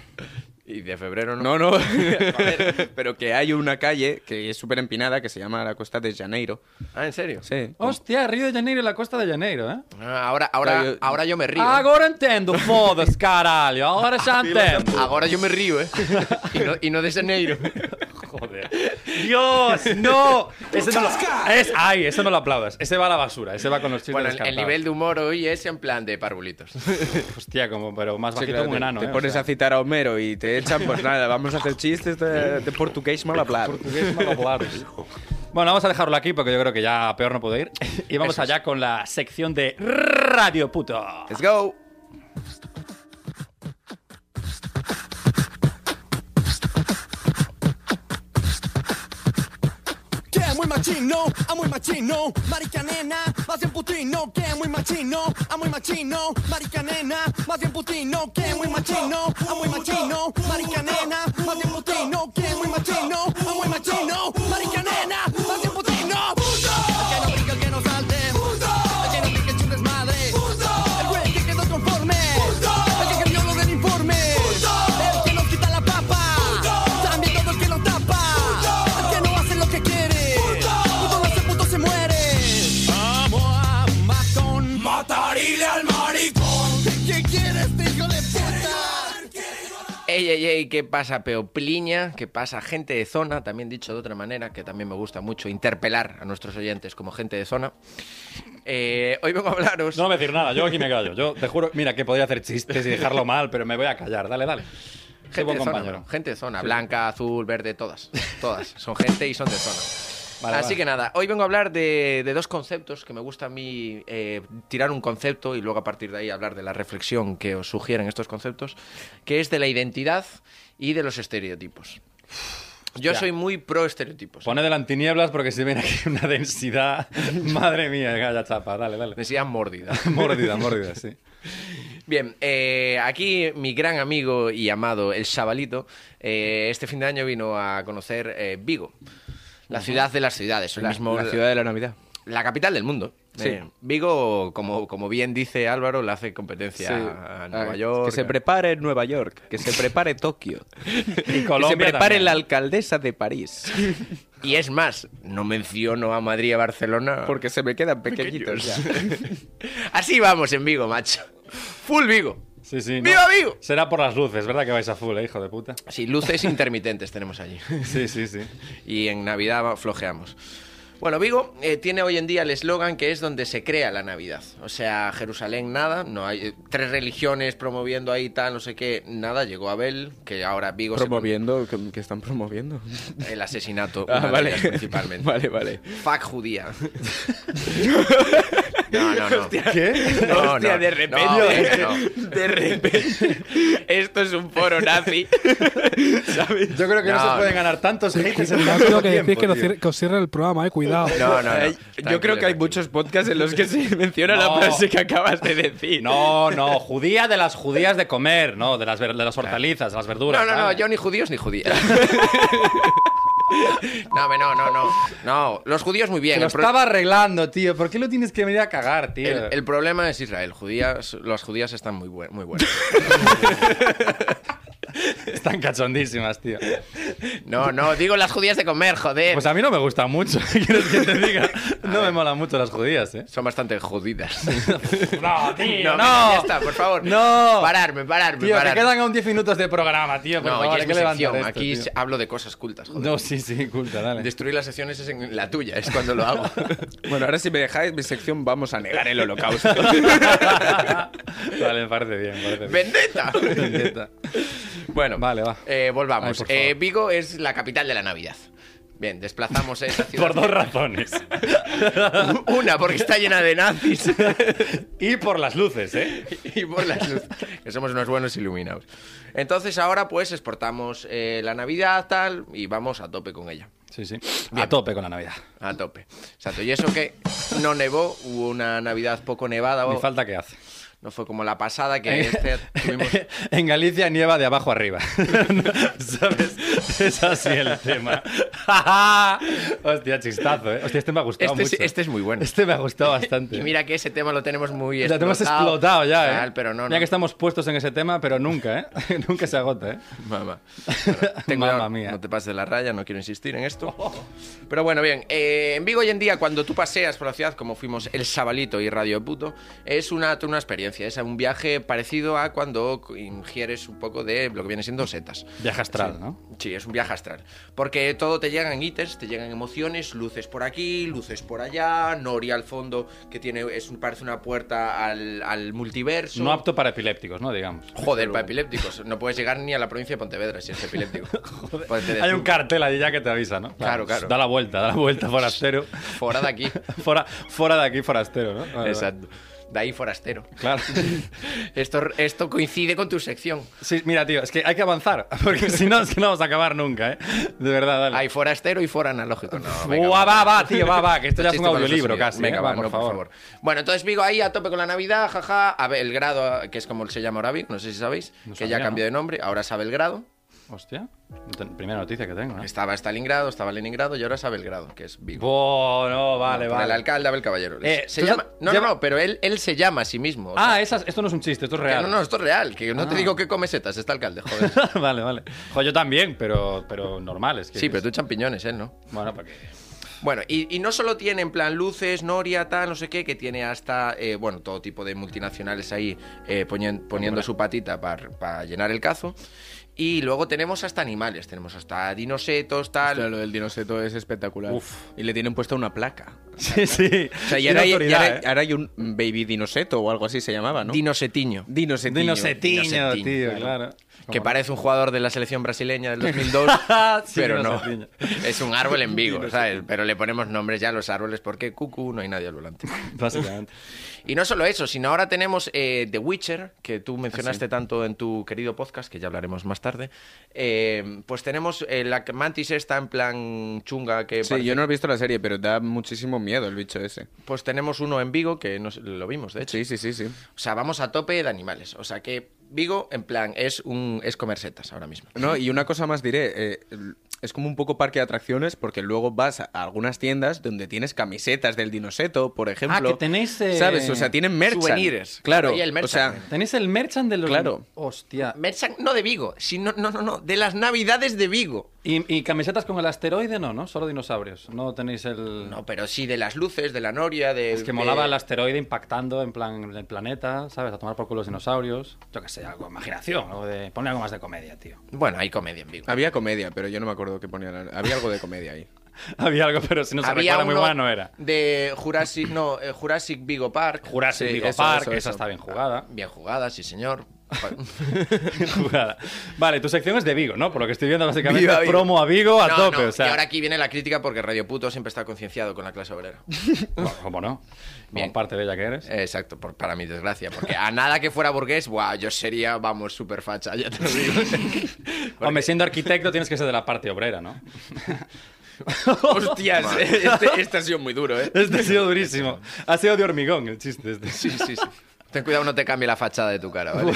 Speaker 2: Y de febrero no.
Speaker 4: No, no. Joder, Pero que hay una calle que es súper empinada que se llama la Cuesta de Janeiro.
Speaker 2: Ah, ¿en serio?
Speaker 4: Sí.
Speaker 1: Hostia, Río de Janeiro y la Costa de Janeiro, ¿eh?
Speaker 2: Ah, ahora, ahora,
Speaker 4: Claro, yo-
Speaker 2: ahora yo me río. ¿eh?
Speaker 1: Ahora entiendo, fodas, caralho. Ahora ya entiendo.
Speaker 2: Ahora yo me río, ¿eh? Y no, y no de enero.
Speaker 1: Joder. ¡Dios! ¡No! Ese no lo- es, ¡Ay! Eso no lo aplaudas. Ese va a la basura. Ese va con los chistes
Speaker 2: Bueno, el- el,
Speaker 1: descartados.
Speaker 2: nivel de humor hoy es en plan de parvulitos.
Speaker 1: Hostia, como, pero más
Speaker 4: Sí,
Speaker 1: bajito
Speaker 4: claro,
Speaker 1: que un
Speaker 4: te,
Speaker 1: enano.
Speaker 4: te
Speaker 1: ¿eh? O
Speaker 4: pones
Speaker 1: sea,
Speaker 4: a citar a Homero y te echan, pues nada, vamos a hacer chistes de, de portugués mal hablado.
Speaker 1: portugués mal hablado. Bueno, vamos a dejarlo aquí porque yo creo que ya peor no puedo ir. Y vamos allá con la sección de Radio Puto.
Speaker 2: Let's go.
Speaker 5: Que muy machino, ah muy machino, marica nena, más bien putino, que muy machino, ah muy machino, marica nena, más bien putino, que muy machino, ah muy machino, marica nena, más bien putino, que muy machino, ah muy machino, marica nena, más bien putino. El que no pica, el que no salte, el que no pica, es un desmadre, el güey que quedó conforme, el que cambió lo del informe, el que nos quita la papa, también todo el que lo tapa, el que no hace lo que quiere, puto no hace puto se muere. Vamos a matón, matarile al maricón. ¿Qué quieres, hijo de puta?
Speaker 2: Ey, ey, ey, ¿qué pasa, Peopliña? ¿Qué pasa, gente de zona? También dicho de otra manera, que también me gusta mucho interpelar a nuestros oyentes como gente de zona. Eh, hoy vengo a hablaros.
Speaker 1: No voy a decir nada, yo aquí me callo. Yo te juro, mira, que podría hacer chistes y dejarlo mal, pero me voy a callar. Dale, dale. Qué
Speaker 2: gente
Speaker 1: buen
Speaker 2: de zona,
Speaker 1: compañero.
Speaker 2: bro, gente de zona, blanca, azul, verde, todas. Todas. Son gente y son de zona.
Speaker 1: Vale,
Speaker 2: Así
Speaker 1: vale.
Speaker 2: que nada, hoy vengo a hablar de, de dos conceptos que me gusta a mí eh, tirar un concepto y luego a partir de ahí hablar de la reflexión que os sugieren estos conceptos, que es de la identidad y de los estereotipos. Yo
Speaker 1: Hostia.
Speaker 2: soy muy pro estereotipos.
Speaker 1: Pone de antinieblas porque se viene aquí una densidad. Madre mía, galla chapa. Dale, dale.
Speaker 2: Densidad mordida.
Speaker 1: Mordida, mordida, sí.
Speaker 2: Bien, eh, aquí mi gran amigo y amado, el Chavalito, eh, este fin de año vino a conocer eh, Vigo, la ciudad de las ciudades, o las mo-
Speaker 4: La ciudad de la Navidad.
Speaker 2: la capital del mundo.
Speaker 4: Sí.
Speaker 2: Eh, Vigo, como, como bien dice Álvaro, le hace competencia a Nueva
Speaker 4: Ah,
Speaker 2: York.
Speaker 4: Que se prepare Nueva York, que se prepare Tokio,
Speaker 1: Y
Speaker 4: que
Speaker 1: Colombia
Speaker 4: se prepare
Speaker 1: también.
Speaker 4: la alcaldesa de París,
Speaker 2: Y es más, no menciono a Madrid y a Barcelona.
Speaker 4: porque se me quedan pequeñitos ya.
Speaker 2: Así vamos en Vigo, macho. Full Vigo.
Speaker 1: Sí, sí.
Speaker 2: ¡Viva Vigo!
Speaker 1: Será por las luces, ¿verdad que vais a full, eh, hijo de puta?
Speaker 2: Sí, luces intermitentes tenemos allí.
Speaker 1: Sí, sí, sí.
Speaker 2: y en Navidad va- flojeamos. Bueno, Vigo eh, tiene hoy en día el eslogan que es donde se crea la Navidad. O sea, Jerusalén nada, no hay eh, tres religiones promoviendo ahí tal, no sé qué, nada. Llegó Abel, que ahora Vigo se con-
Speaker 4: Promoviendo, que, que están promoviendo.
Speaker 2: el asesinato
Speaker 4: Ah,
Speaker 2: una de
Speaker 4: vale.
Speaker 2: ellas principalmente.
Speaker 4: Vale, vale.
Speaker 2: Fuck judía. no, no, no.
Speaker 1: ¿Qué?
Speaker 2: No, no.
Speaker 4: Hostia, de repente.
Speaker 2: No, hombre, no.
Speaker 4: De repente. Esto es un foro nazi. ¿Sabes?
Speaker 1: Yo creo que no,
Speaker 2: No,
Speaker 1: se pueden ganar tantos haters en tan
Speaker 6: Yo
Speaker 1: poco
Speaker 6: Tengo que decir
Speaker 1: tiempo,
Speaker 6: que, nos
Speaker 1: tío.
Speaker 6: cier- que os cierre el programa, eh, cuidado.
Speaker 2: No, no, no.
Speaker 4: Ay,
Speaker 2: Tranquilo,
Speaker 4: Yo creo que hay
Speaker 2: tranquilo.
Speaker 4: muchos podcasts en los que se menciona
Speaker 1: No.
Speaker 4: la frase que acabas de decir.
Speaker 1: No, no, judía de las judías de comer, no, de las, ver- de las hortalizas, de las verduras.
Speaker 2: No, no, no,
Speaker 1: ¿vale?
Speaker 2: yo ni judíos ni judías. no, hombre, no, no, no. No, los judíos muy bien.
Speaker 1: Que lo
Speaker 2: el pro-
Speaker 1: estaba arreglando, tío. ¿Por qué lo tienes que venir a cagar, tío?
Speaker 2: El, el problema es Israel. Judías, las judías están muy, buen- muy buenas.
Speaker 1: Están cachondísimas, tío.
Speaker 2: No, no, digo las judías de comer, joder.
Speaker 1: Pues a mí no me gusta mucho, ¿qué quieres que te diga? No me molan mucho las judías, ¿eh?
Speaker 2: Son bastante jodidas.
Speaker 1: No, tío,
Speaker 2: no, ya está, por favor.
Speaker 1: No.
Speaker 2: Pararme, pararme,
Speaker 1: Tío, que
Speaker 2: pararme.
Speaker 1: quedan aún 10 minutos de programa, tío. Por
Speaker 2: No,
Speaker 1: favor,
Speaker 2: y
Speaker 1: hay
Speaker 2: es
Speaker 1: que
Speaker 2: mi
Speaker 1: levantar
Speaker 2: sección.
Speaker 1: esto,
Speaker 2: Aquí
Speaker 1: tío.
Speaker 2: hablo de cosas cultas, joder.
Speaker 1: No, sí, sí, culta, dale.
Speaker 2: Destruir las secciones es en la tuya, es cuando lo hago.
Speaker 4: Bueno, ahora si me dejáis mi sección, vamos a negar el holocausto.
Speaker 1: vale, me parece bien, me parece bien.
Speaker 2: ¡Vendetta!
Speaker 1: Vendetta.
Speaker 2: Bueno,
Speaker 1: Vale, va.
Speaker 2: eh, volvamos.
Speaker 1: Ay, por favor.
Speaker 2: Eh, Vigo es la capital de la Navidad. Bien, desplazamos esa ciudad.
Speaker 1: Por dos razones.
Speaker 2: Una, porque está llena de nazis.
Speaker 1: Y por las luces, ¿eh?
Speaker 2: y por las luces. Que somos unos buenos iluminados. Entonces ahora pues exportamos eh, la Navidad tal y vamos a tope con ella.
Speaker 1: Sí, sí. A tope con la Navidad.
Speaker 2: A tope. Exacto. Y eso que no nevó, hubo una Navidad poco nevada.
Speaker 1: Ni
Speaker 2: o-
Speaker 1: falta que hace.
Speaker 2: No fue como la pasada que este tuvimos...
Speaker 1: Eh, En Galicia nieva de abajo arriba. ¿Sabes? Es así el tema. Hostia, chistazo, ¿eh? Hostia, este me ha gustado
Speaker 2: Este,
Speaker 1: mucho.
Speaker 2: sí- este es muy bueno.
Speaker 1: Este me ha gustado bastante.
Speaker 2: Y mira que ese tema lo tenemos muy
Speaker 1: lo tenemos explotado ya, ¿eh?
Speaker 2: tal, pero no,
Speaker 1: Mira
Speaker 2: no.
Speaker 1: que estamos puestos en ese tema, pero nunca, ¿eh? nunca se agota, ¿eh?
Speaker 2: Mamá. Bueno, ten
Speaker 1: Mamma
Speaker 2: cuidado,
Speaker 1: mía.
Speaker 2: No te pases de la raya, no quiero insistir en esto. Pero bueno, bien. eh, en Vigo hoy en día, cuando tú paseas por la ciudad, como fuimos El Sabalito y Radio Puto, es una, una experiencia, es un viaje parecido a cuando ingieres un poco de lo que viene siendo setas.
Speaker 1: Viaje astral, ¿no?
Speaker 2: Sí, sí, es un viaje astral. Porque todo te llegan ítems, te llegan emociones, luces por aquí, luces por allá, Nori al fondo, que tiene es un- parece una puerta al, al multiverso.
Speaker 1: No apto para epilépticos, ¿no? Digamos.
Speaker 2: Joder, para epilépticos. No puedes llegar ni a la provincia de Pontevedra si eres epiléptico. Pues te
Speaker 1: Hay un
Speaker 2: desnudo.
Speaker 1: cartel allí ya que te avisa, ¿no?
Speaker 2: Claro, claro.
Speaker 1: Da la vuelta, da la vuelta, forastero.
Speaker 2: Fora de aquí.
Speaker 1: Fora, fora de aquí, forastero, ¿no? Vale, vale.
Speaker 2: Exacto. De ahí forastero.
Speaker 1: Claro.
Speaker 2: Esto, esto coincide con tu sección.
Speaker 1: Sí, mira, tío, es que hay que avanzar, porque si no, es que no vamos a acabar nunca, ¿eh? De verdad, dale.
Speaker 2: Hay forastero y fora analógico. No, venga,
Speaker 1: Buah, va, va, tío, va, va, que esto ya es
Speaker 2: Chiste
Speaker 1: un
Speaker 2: con los
Speaker 1: audiolibro
Speaker 2: sonidos.
Speaker 1: casi.
Speaker 2: Venga,
Speaker 1: ¿eh?
Speaker 2: va,
Speaker 1: Va,
Speaker 2: no, por, favor. Bueno, entonces Vigo ahí a tope con la Navidad, jaja. A Belgrado, que es como se llama ahora Vigo, no sé si sabéis,
Speaker 1: No
Speaker 2: que
Speaker 1: sabía,
Speaker 2: ya cambió
Speaker 1: ¿no?
Speaker 2: de nombre, ahora es a Belgrado.
Speaker 1: Hostia, te- primera noticia que tengo, ¿eh?
Speaker 2: Estaba Stalingrado, estaba Leningrado y ahora es a Belgrado, que es Vigo.
Speaker 1: Buah, no, vale,
Speaker 2: Por
Speaker 1: vale.
Speaker 2: El alcalde Abel Caballero.
Speaker 1: Eh,
Speaker 2: se
Speaker 1: tú
Speaker 2: llama...
Speaker 1: sa-
Speaker 2: No, no,
Speaker 1: lleva-
Speaker 2: no, pero él, él se llama a sí mismo. o sea,
Speaker 1: Ah, esas, esto no es un chiste, esto es
Speaker 2: que
Speaker 1: real. Ah.
Speaker 2: no, no, esto es real, que no te digo que come setas, está alcalde, joder.
Speaker 1: vale, vale. Jo, yo también, pero, pero normales.
Speaker 2: Sí, pero tú champiñones, él, ¿no?
Speaker 1: Bueno, porque...
Speaker 2: Bueno, y, y no solo tiene en plan luces, Noria, tal, no sé qué, que tiene hasta, eh, bueno, todo tipo de multinacionales ahí eh, poñen- poniendo su patita para llenar el cazo. Y luego tenemos hasta animales, tenemos hasta dinosetos, tal.
Speaker 3: Hostia, lo del dinoseto es espectacular.
Speaker 1: Uf.
Speaker 3: Y le tienen puesta una placa.
Speaker 1: Sí, sí.
Speaker 3: O sea, y
Speaker 1: Tiene
Speaker 3: ahora, hay, y
Speaker 1: autoridad,
Speaker 3: ahora hay-
Speaker 1: ¿eh?
Speaker 3: ahora hay un baby dinoseto o algo así se llamaba, ¿no?
Speaker 2: Dinosetiño.
Speaker 3: dinosetiño.
Speaker 1: Dinosetiño,
Speaker 2: Dinosetiño,
Speaker 1: tío, claro.
Speaker 2: Que parece un jugador de la selección brasileña del 2002,
Speaker 1: Sí,
Speaker 2: pero no.
Speaker 1: Dinosetiño.
Speaker 2: Es un árbol en Vigo, ¿sabes? Pero le ponemos nombres ya a los árboles porque cucú, no hay nadie al volante.
Speaker 1: Básicamente.
Speaker 2: Y no solo eso, sino ahora tenemos eh, The Witcher, que tú mencionaste tanto en tu querido podcast, que ya hablaremos más tarde. Eh, pues tenemos eh, la que- Mantis esta en plan chunga que...
Speaker 3: Sí,
Speaker 2: parece-
Speaker 3: yo no he visto la serie, pero da muchísimo miedo el bicho ese.
Speaker 2: Pues tenemos uno en Vigo, que nos, lo vimos, de hecho.
Speaker 3: Sí, sí, sí, sí.
Speaker 2: O sea, vamos a tope de animales. O sea que Vigo, en plan, es, un, es comer setas ahora mismo.
Speaker 3: No, y una cosa más diré, eh, l- es como un poco parque de atracciones porque luego vas a algunas tiendas donde tienes camisetas del dinoseto, por ejemplo.
Speaker 1: Ah, que tenéis, eh,
Speaker 3: ¿Sabes? O sea, tienen merch.
Speaker 2: souvenirs.
Speaker 3: Claro.
Speaker 2: Ahí el merch
Speaker 3: o sea,
Speaker 2: también.
Speaker 1: Tenéis el merchant de los...
Speaker 3: Claro.
Speaker 1: Hostia.
Speaker 2: Merchan, no de Vigo, sino, no, no, no, de las navidades de Vigo.
Speaker 1: Y, y camisetas con el asteroide no, ¿no? Solo dinosaurios. No tenéis el...
Speaker 2: No, pero sí de las luces, de la noria, de...
Speaker 1: Es que
Speaker 2: de-
Speaker 1: molaba el asteroide impactando en plan en el planeta, ¿sabes? A tomar por culo los dinosaurios. Yo qué sé, algo, imaginación, algo de... Ponle algo más de comedia, tío.
Speaker 2: Bueno, hay comedia en Vigo.
Speaker 1: Ah,
Speaker 3: había comedia, pero yo no me acuerdo qué ponían. Había algo de comedia ahí.
Speaker 1: Había algo, pero si no se
Speaker 2: Había
Speaker 1: recuerda muy
Speaker 2: uno
Speaker 1: buena no era.
Speaker 2: De Jurassic, no, eh, Jurassic Vigo Park.
Speaker 1: Jurassic
Speaker 3: Sí,
Speaker 1: Vigo
Speaker 3: eso,
Speaker 1: Park,
Speaker 3: eso,
Speaker 1: esa
Speaker 3: eso.
Speaker 1: está bien jugada.
Speaker 2: Bien jugada, sí, señor.
Speaker 1: Jugada. Vale, tu sección es de Vigo, ¿no? Por lo que estoy viendo, básicamente,
Speaker 3: Viva Vigo.
Speaker 1: promo a Vigo a
Speaker 2: No,
Speaker 1: tope.
Speaker 2: no,
Speaker 1: o sea,
Speaker 2: Y ahora aquí viene la crítica porque Radio Puto siempre está concienciado con la clase obrera.
Speaker 1: Bueno, ¿Cómo no? Como
Speaker 2: Bien.
Speaker 1: parte de ella que eres.
Speaker 2: Eh, Exacto, por, para mi desgracia. Porque a nada que fuera burgués, buah, yo sería, vamos, súper facha, ya te lo digo.
Speaker 1: Hombre, siendo arquitecto tienes que ser de la parte obrera, ¿no?
Speaker 3: Hostias, este, este ha sido muy duro, ¿eh?
Speaker 1: Este ha sido durísimo. Ha sido de hormigón el chiste este.
Speaker 2: Sí, sí, sí. Ten cuidado, no te cambie la fachada de tu cara, ¿vale?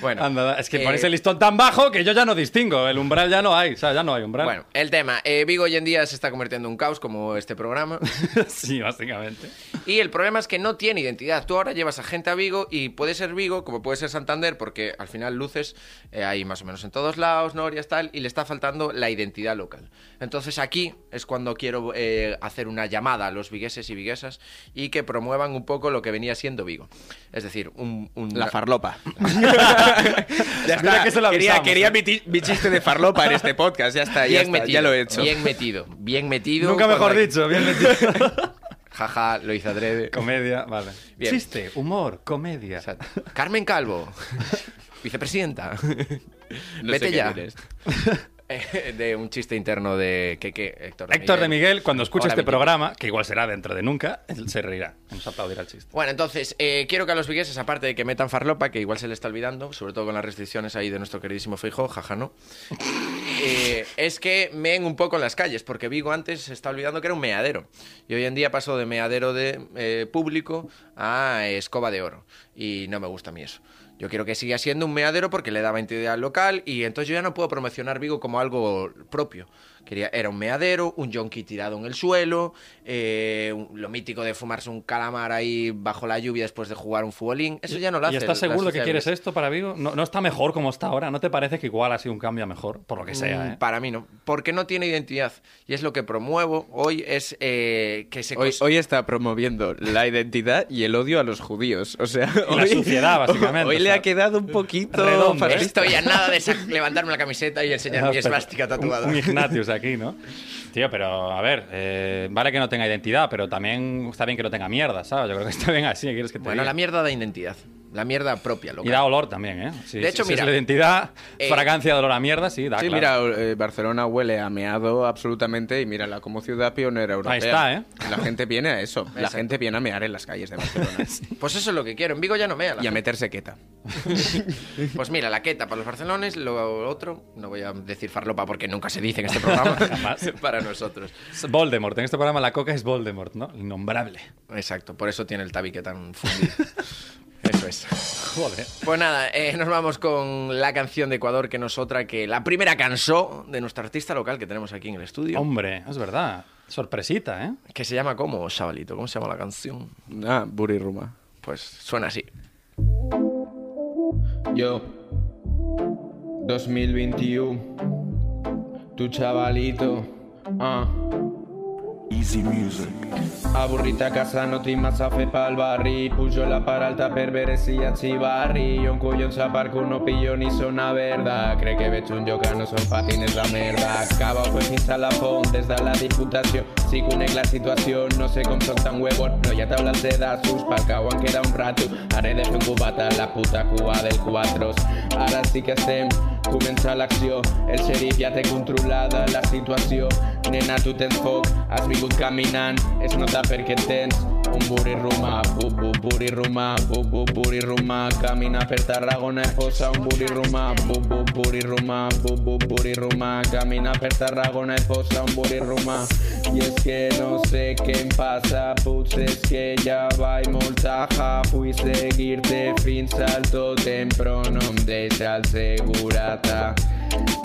Speaker 2: bueno,
Speaker 1: Anda, es que
Speaker 2: eh,
Speaker 1: ponéis el listón tan bajo que yo ya no distingo. El umbral ya no hay. O sea, ya no hay umbral.
Speaker 2: Bueno, el tema. eh, Vigo hoy en día se está convirtiendo en un caos como este programa.
Speaker 1: sí, básicamente.
Speaker 2: Y el problema es que no tiene identidad. Tú ahora llevas a gente a Vigo y puede ser Vigo, como puede ser Santander, porque al final luces eh, hay más o menos en todos lados, norias, tal, y le está faltando la identidad local. Entonces aquí es cuando quiero eh, hacer una llamada a los vigueses y viguesas y que promuevan un poco lo que venía siendo Vigo. Es decir, un... un-
Speaker 3: La farlopa. ya
Speaker 1: Mira que se lo
Speaker 3: quería
Speaker 1: avisamos,
Speaker 3: quería
Speaker 1: ¿eh?
Speaker 3: mi, ti- mi chiste de farlopa en este podcast. Ya está,
Speaker 2: Bien
Speaker 3: ya, está,
Speaker 2: metido,
Speaker 3: ya lo he hecho.
Speaker 2: Bien metido, bien metido.
Speaker 1: Nunca mejor
Speaker 2: cuando-
Speaker 1: dicho. Bien metido.
Speaker 2: Jaja, lo hice adrede.
Speaker 1: comedia, vale.
Speaker 2: Bien.
Speaker 1: Chiste, humor, comedia.
Speaker 2: Exacto. Carmen Calvo, vicepresidenta.
Speaker 3: No sé
Speaker 2: Vete
Speaker 3: qué
Speaker 2: ya.
Speaker 3: eres.
Speaker 2: Eh, de un chiste interno de que, que Héctor, de,
Speaker 1: Héctor de Miguel, cuando escuche
Speaker 2: Hola,
Speaker 1: este
Speaker 2: Miguel.
Speaker 1: programa, que igual será dentro de nunca, él se reirá. Nos aplaudirá el chiste.
Speaker 2: Bueno, entonces, eh, quiero que a los vigueses, aparte de que metan farlopa, que igual se le está olvidando, sobre todo con las restricciones ahí de nuestro queridísimo Feijó, jaja, no. eh, es que meen un poco en las calles, porque Vigo antes se está olvidando que era un meadero. Y hoy en día pasó de meadero de eh, público a eh, escoba de oro. Y no me gusta a mí eso. Yo quiero que siga siendo un meadero porque le daba entidad local y entonces yo ya no puedo promocionar Vigo como algo propio. Quería, era un meadero, un yonki tirado en el suelo, eh, un- lo mítico de fumarse un calamar ahí bajo la lluvia después de jugar un futbolín. Eso ya no lo
Speaker 1: ¿Y
Speaker 2: hace.
Speaker 1: estás
Speaker 2: la
Speaker 1: seguro de que
Speaker 2: sociedad
Speaker 1: quieres
Speaker 2: viguesa.
Speaker 1: esto para Vigo? No, no está mejor como está ahora. ¿No te parece que igual ha sido un cambio a mejor? Por lo que sea,
Speaker 2: Mm,
Speaker 1: ¿eh?
Speaker 2: Para mí no, porque no tiene identidad. Y es lo que promuevo hoy, es eh, que se...
Speaker 3: Hoy,
Speaker 2: cons-
Speaker 3: hoy está promoviendo la identidad y el odio a los judíos. O sea,
Speaker 1: Y la
Speaker 3: hoy-
Speaker 1: suciedad, básicamente.
Speaker 3: Hoy
Speaker 1: O
Speaker 3: le ha quedado un poquito
Speaker 1: Redondo,
Speaker 3: para-
Speaker 1: ¿eh?
Speaker 2: Estoy a nada de sa- levantarme la camiseta y enseñar mi
Speaker 1: Ah, pero-
Speaker 2: esvástica tatuada.
Speaker 1: Un, un Ignatius aquí, ¿no? Tío, pero a ver, eh, vale que no tenga identidad, pero también está bien que no tenga mierda, ¿sabes? Yo creo que está bien así, ¿qué ¿quieres que te
Speaker 2: Bueno,
Speaker 1: diga?
Speaker 2: la mierda da identidad. La mierda propia, loco.
Speaker 1: Y da olor también, ¿eh? Sí,
Speaker 2: De hecho,
Speaker 1: si es
Speaker 2: mira,
Speaker 1: la identidad,
Speaker 2: eh,
Speaker 1: fragancia de olor a mierda, sí, da
Speaker 3: Sí,
Speaker 1: claro.
Speaker 3: mira, eh, Barcelona huele a meado absolutamente y mírala como ciudad pionera europea.
Speaker 1: Ahí está, ¿eh?
Speaker 3: La gente viene a eso. La
Speaker 2: Exacto.
Speaker 3: gente viene a mear en las calles de Barcelona
Speaker 2: Pues eso es lo que quiero. En Vigo ya no mea. la
Speaker 3: y a
Speaker 2: gente.
Speaker 3: meterse queta.
Speaker 2: Pues mira, la queta para los barcelones, lo otro, no voy a decir farlopa porque nunca se dice en este programa.
Speaker 1: Jamás.
Speaker 2: para nosotros.
Speaker 1: Es Voldemort, en este programa la coca es Voldemort, ¿no? Innombrable.
Speaker 2: Exacto, por eso tiene el tabique tan fundido. Eso es.
Speaker 1: Joder.
Speaker 2: Pues nada, eh, nos vamos con la canción de Ecuador, que no es otra que la primera canción de nuestro artista local que tenemos aquí en el estudio,
Speaker 1: Hombre, es verdad. Sorpresita, ¿eh?
Speaker 2: que se llama ¿cómo, chavalito? ¿Cómo se llama la canción?
Speaker 3: Ah, buriruma.
Speaker 2: Pues suena así.
Speaker 3: Yo, 2021, tu chavalito, ah. Aburrita casanotik mazafe pal barri Pujola paralta berberezi atzibarri Onkuion zaparkun opion izona berda Kreke betxun jokan oso patines la merda pues Caba ojo ezin zala fon, desda la diputazio Zikunek la situación, no se confrontan huevos No ya tablas de da sus palkauan queda un rato Haré de un cubata, la puta cuba del cuatros Ahora sí que estem, comença l'acció El xerif ja té controlada la situació Nena, tu tens foc, has vingut caminant Es nota perquè tens un burirrumà Bu, bu, burirrumà, bu, bu, burirrumà Camina per Tarragona i posa un burirrumà Bu, bu, burirrumà, bu, bu, burirrumà Camina per Tarragona i posa un burirrumà I és que no sé què em passa Potser és que ja vaig molt taja Vull seguir-te fins al tòtem Però no em deixa el segurata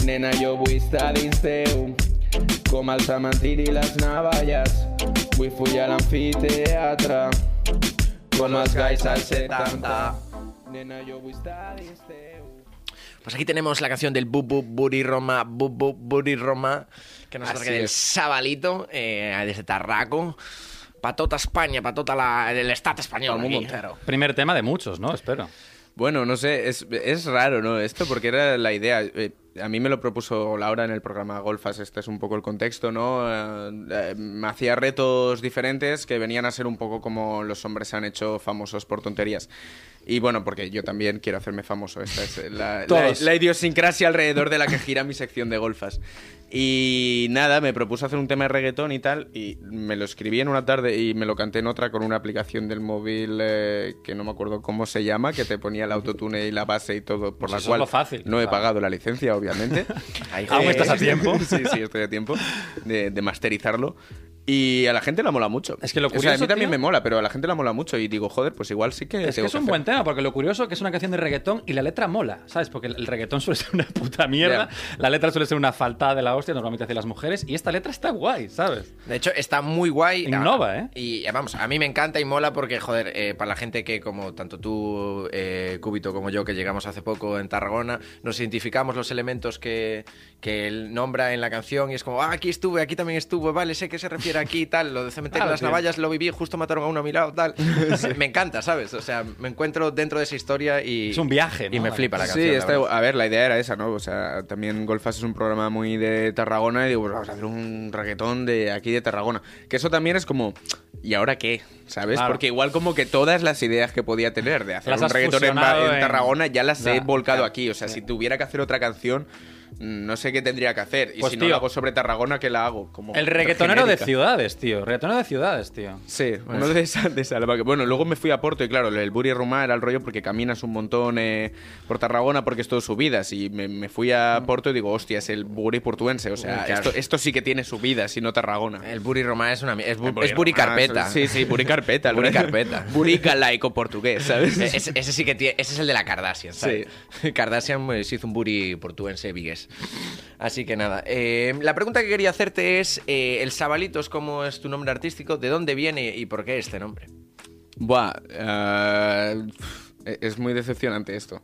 Speaker 3: Nena, jo vull estar dins teu com el cementiri i les navalles Vull follar a l'amfiteatre Com els gais als 70 Nena, jo vull estar dins teu
Speaker 2: Pues aquí tenemos la canción del Bubu Buriroma, Bubu Buriroma, que nos
Speaker 3: Así
Speaker 2: trae del
Speaker 3: es.
Speaker 2: Sabalito, eh, desde Tarraco, patota España, patota la, el Estado español.
Speaker 3: Todo el mundo
Speaker 2: aquí.
Speaker 3: entero.
Speaker 1: Primer tema de muchos, ¿no? Espero.
Speaker 3: Bueno, no sé, es, es raro, ¿no? Esto porque era la idea. eh, a mí me lo propuso Laura en el programa Golfas, este es un poco el contexto, ¿no? Eh, eh, me hacía retos diferentes que venían a ser un poco como los hombres se han hecho famosos por tonterías. Y bueno, porque yo también quiero hacerme famoso. Esta es la, la,
Speaker 1: Todos.
Speaker 3: la idiosincrasia alrededor de la que gira mi sección de golfas. Y nada, me propuso hacer un tema de reggaetón y tal, y me lo escribí en una tarde y me lo canté en otra con una aplicación del móvil eh, que no me acuerdo cómo se llama, que te ponía el autotune y la base y todo, por
Speaker 1: Pues
Speaker 3: la
Speaker 1: eso es
Speaker 3: cual
Speaker 1: lo fácil,
Speaker 3: no he
Speaker 1: claro.
Speaker 3: pagado la licencia, obviamente.
Speaker 2: Ahí,
Speaker 1: Aún
Speaker 2: joder.
Speaker 1: estás a tiempo.
Speaker 3: sí, sí, estoy a tiempo de, de masterizarlo. Y a la gente la mola mucho.
Speaker 1: Es que lo
Speaker 3: O sea, a
Speaker 1: curioso,
Speaker 3: mí también
Speaker 1: tío-
Speaker 3: me mola, pero a la gente la mola mucho y digo, joder, pues igual sí que...
Speaker 1: Es que
Speaker 3: tengo
Speaker 1: es un
Speaker 3: hacer-
Speaker 1: buen tema, porque lo curioso es que es una canción de reggaetón y la letra mola, ¿sabes? Porque el el reggaetón suele ser una puta mierda, la letra suele ser una faltada de la hostia, normalmente hacia las mujeres, y esta letra está guay, ¿sabes?
Speaker 2: De hecho, está muy guay.
Speaker 1: Innova,
Speaker 2: Ah,
Speaker 1: ¿eh?
Speaker 2: Y eh, vamos, a mí me encanta y mola porque, joder, eh, para la gente que, como tanto tú, eh, Cúbito, como yo, que llegamos hace poco en Tarragona, nos identificamos los elementos que, que él nombra en la canción y es como, ah, aquí estuve, aquí también estuve, vale, sé que se refiere aquí y tal. Lo de cementerio
Speaker 1: Claro,
Speaker 2: de las
Speaker 1: tío.
Speaker 2: navallas lo viví, justo mataron a uno a mi lado, tal. Me encanta, ¿sabes? O sea, me encuentro dentro de esa historia y.
Speaker 1: Es un viaje, ¿no?
Speaker 2: Y me
Speaker 1: La
Speaker 2: flipa la
Speaker 3: Sí,
Speaker 2: canción. la
Speaker 3: está
Speaker 2: verdad.
Speaker 3: igual. a ver, la idea era esa, ¿no? O sea, también Golfas es un programa muy de Tarragona y digo, pues vamos a hacer un reggaetón de aquí de Tarragona. Que eso también es como, ¿y ahora qué? ¿Sabes?
Speaker 1: Claro.
Speaker 3: Porque igual como que todas las ideas que podía tener de hacer
Speaker 1: Las
Speaker 3: un
Speaker 1: has
Speaker 3: reggaetón en, ba-
Speaker 1: fusionado
Speaker 3: en
Speaker 1: en-
Speaker 3: Tarragona ya las he
Speaker 1: Ya,
Speaker 3: volcado aquí. O sea, si tuviera que hacer otra canción, mm, no sé qué tendría que hacer. Y
Speaker 1: Pues,
Speaker 3: si no
Speaker 1: tío,
Speaker 3: la hago sobre Tarragona, ¿qué la hago? Como
Speaker 1: El reggaetonero de
Speaker 3: genérica.
Speaker 1: ciudades, tío. Reggaetonero de ciudades, tío.
Speaker 3: Sí, uno de esa, de esa alba que- Bueno, luego me fui a Porto y claro, el Buri Rumá era el rollo porque caminas un montón eh, por Tarragona porque es todo subidas. Y me, me fui a Porto y digo, hostia, es el Buri portuense. O sea,
Speaker 2: Mm. Uy, claro.
Speaker 3: esto, esto sí que tiene subidas y no Tarragona.
Speaker 2: El Buri Romá es una. mi- Es, bu-
Speaker 3: El Buri
Speaker 2: es Buri
Speaker 3: Romá,
Speaker 2: Carpeta.
Speaker 3: Ah, Sí, sí, Buri Carpeta. el
Speaker 2: Buri
Speaker 3: verdad.
Speaker 2: Carpeta.
Speaker 3: Buri galaico portugués, ¿sabes?
Speaker 2: E- Ese, ese sí que tiene, ese es el de la Kardashian, ¿sabes? Kardashian eh, se hizo un booty portuense vigués. Así que nada. eh, la pregunta que quería hacerte es: eh, ¿el Sabalitos, cómo es tu nombre artístico? ¿De dónde viene y por qué este nombre?
Speaker 3: Buah, eh, E- Es muy decepcionante esto.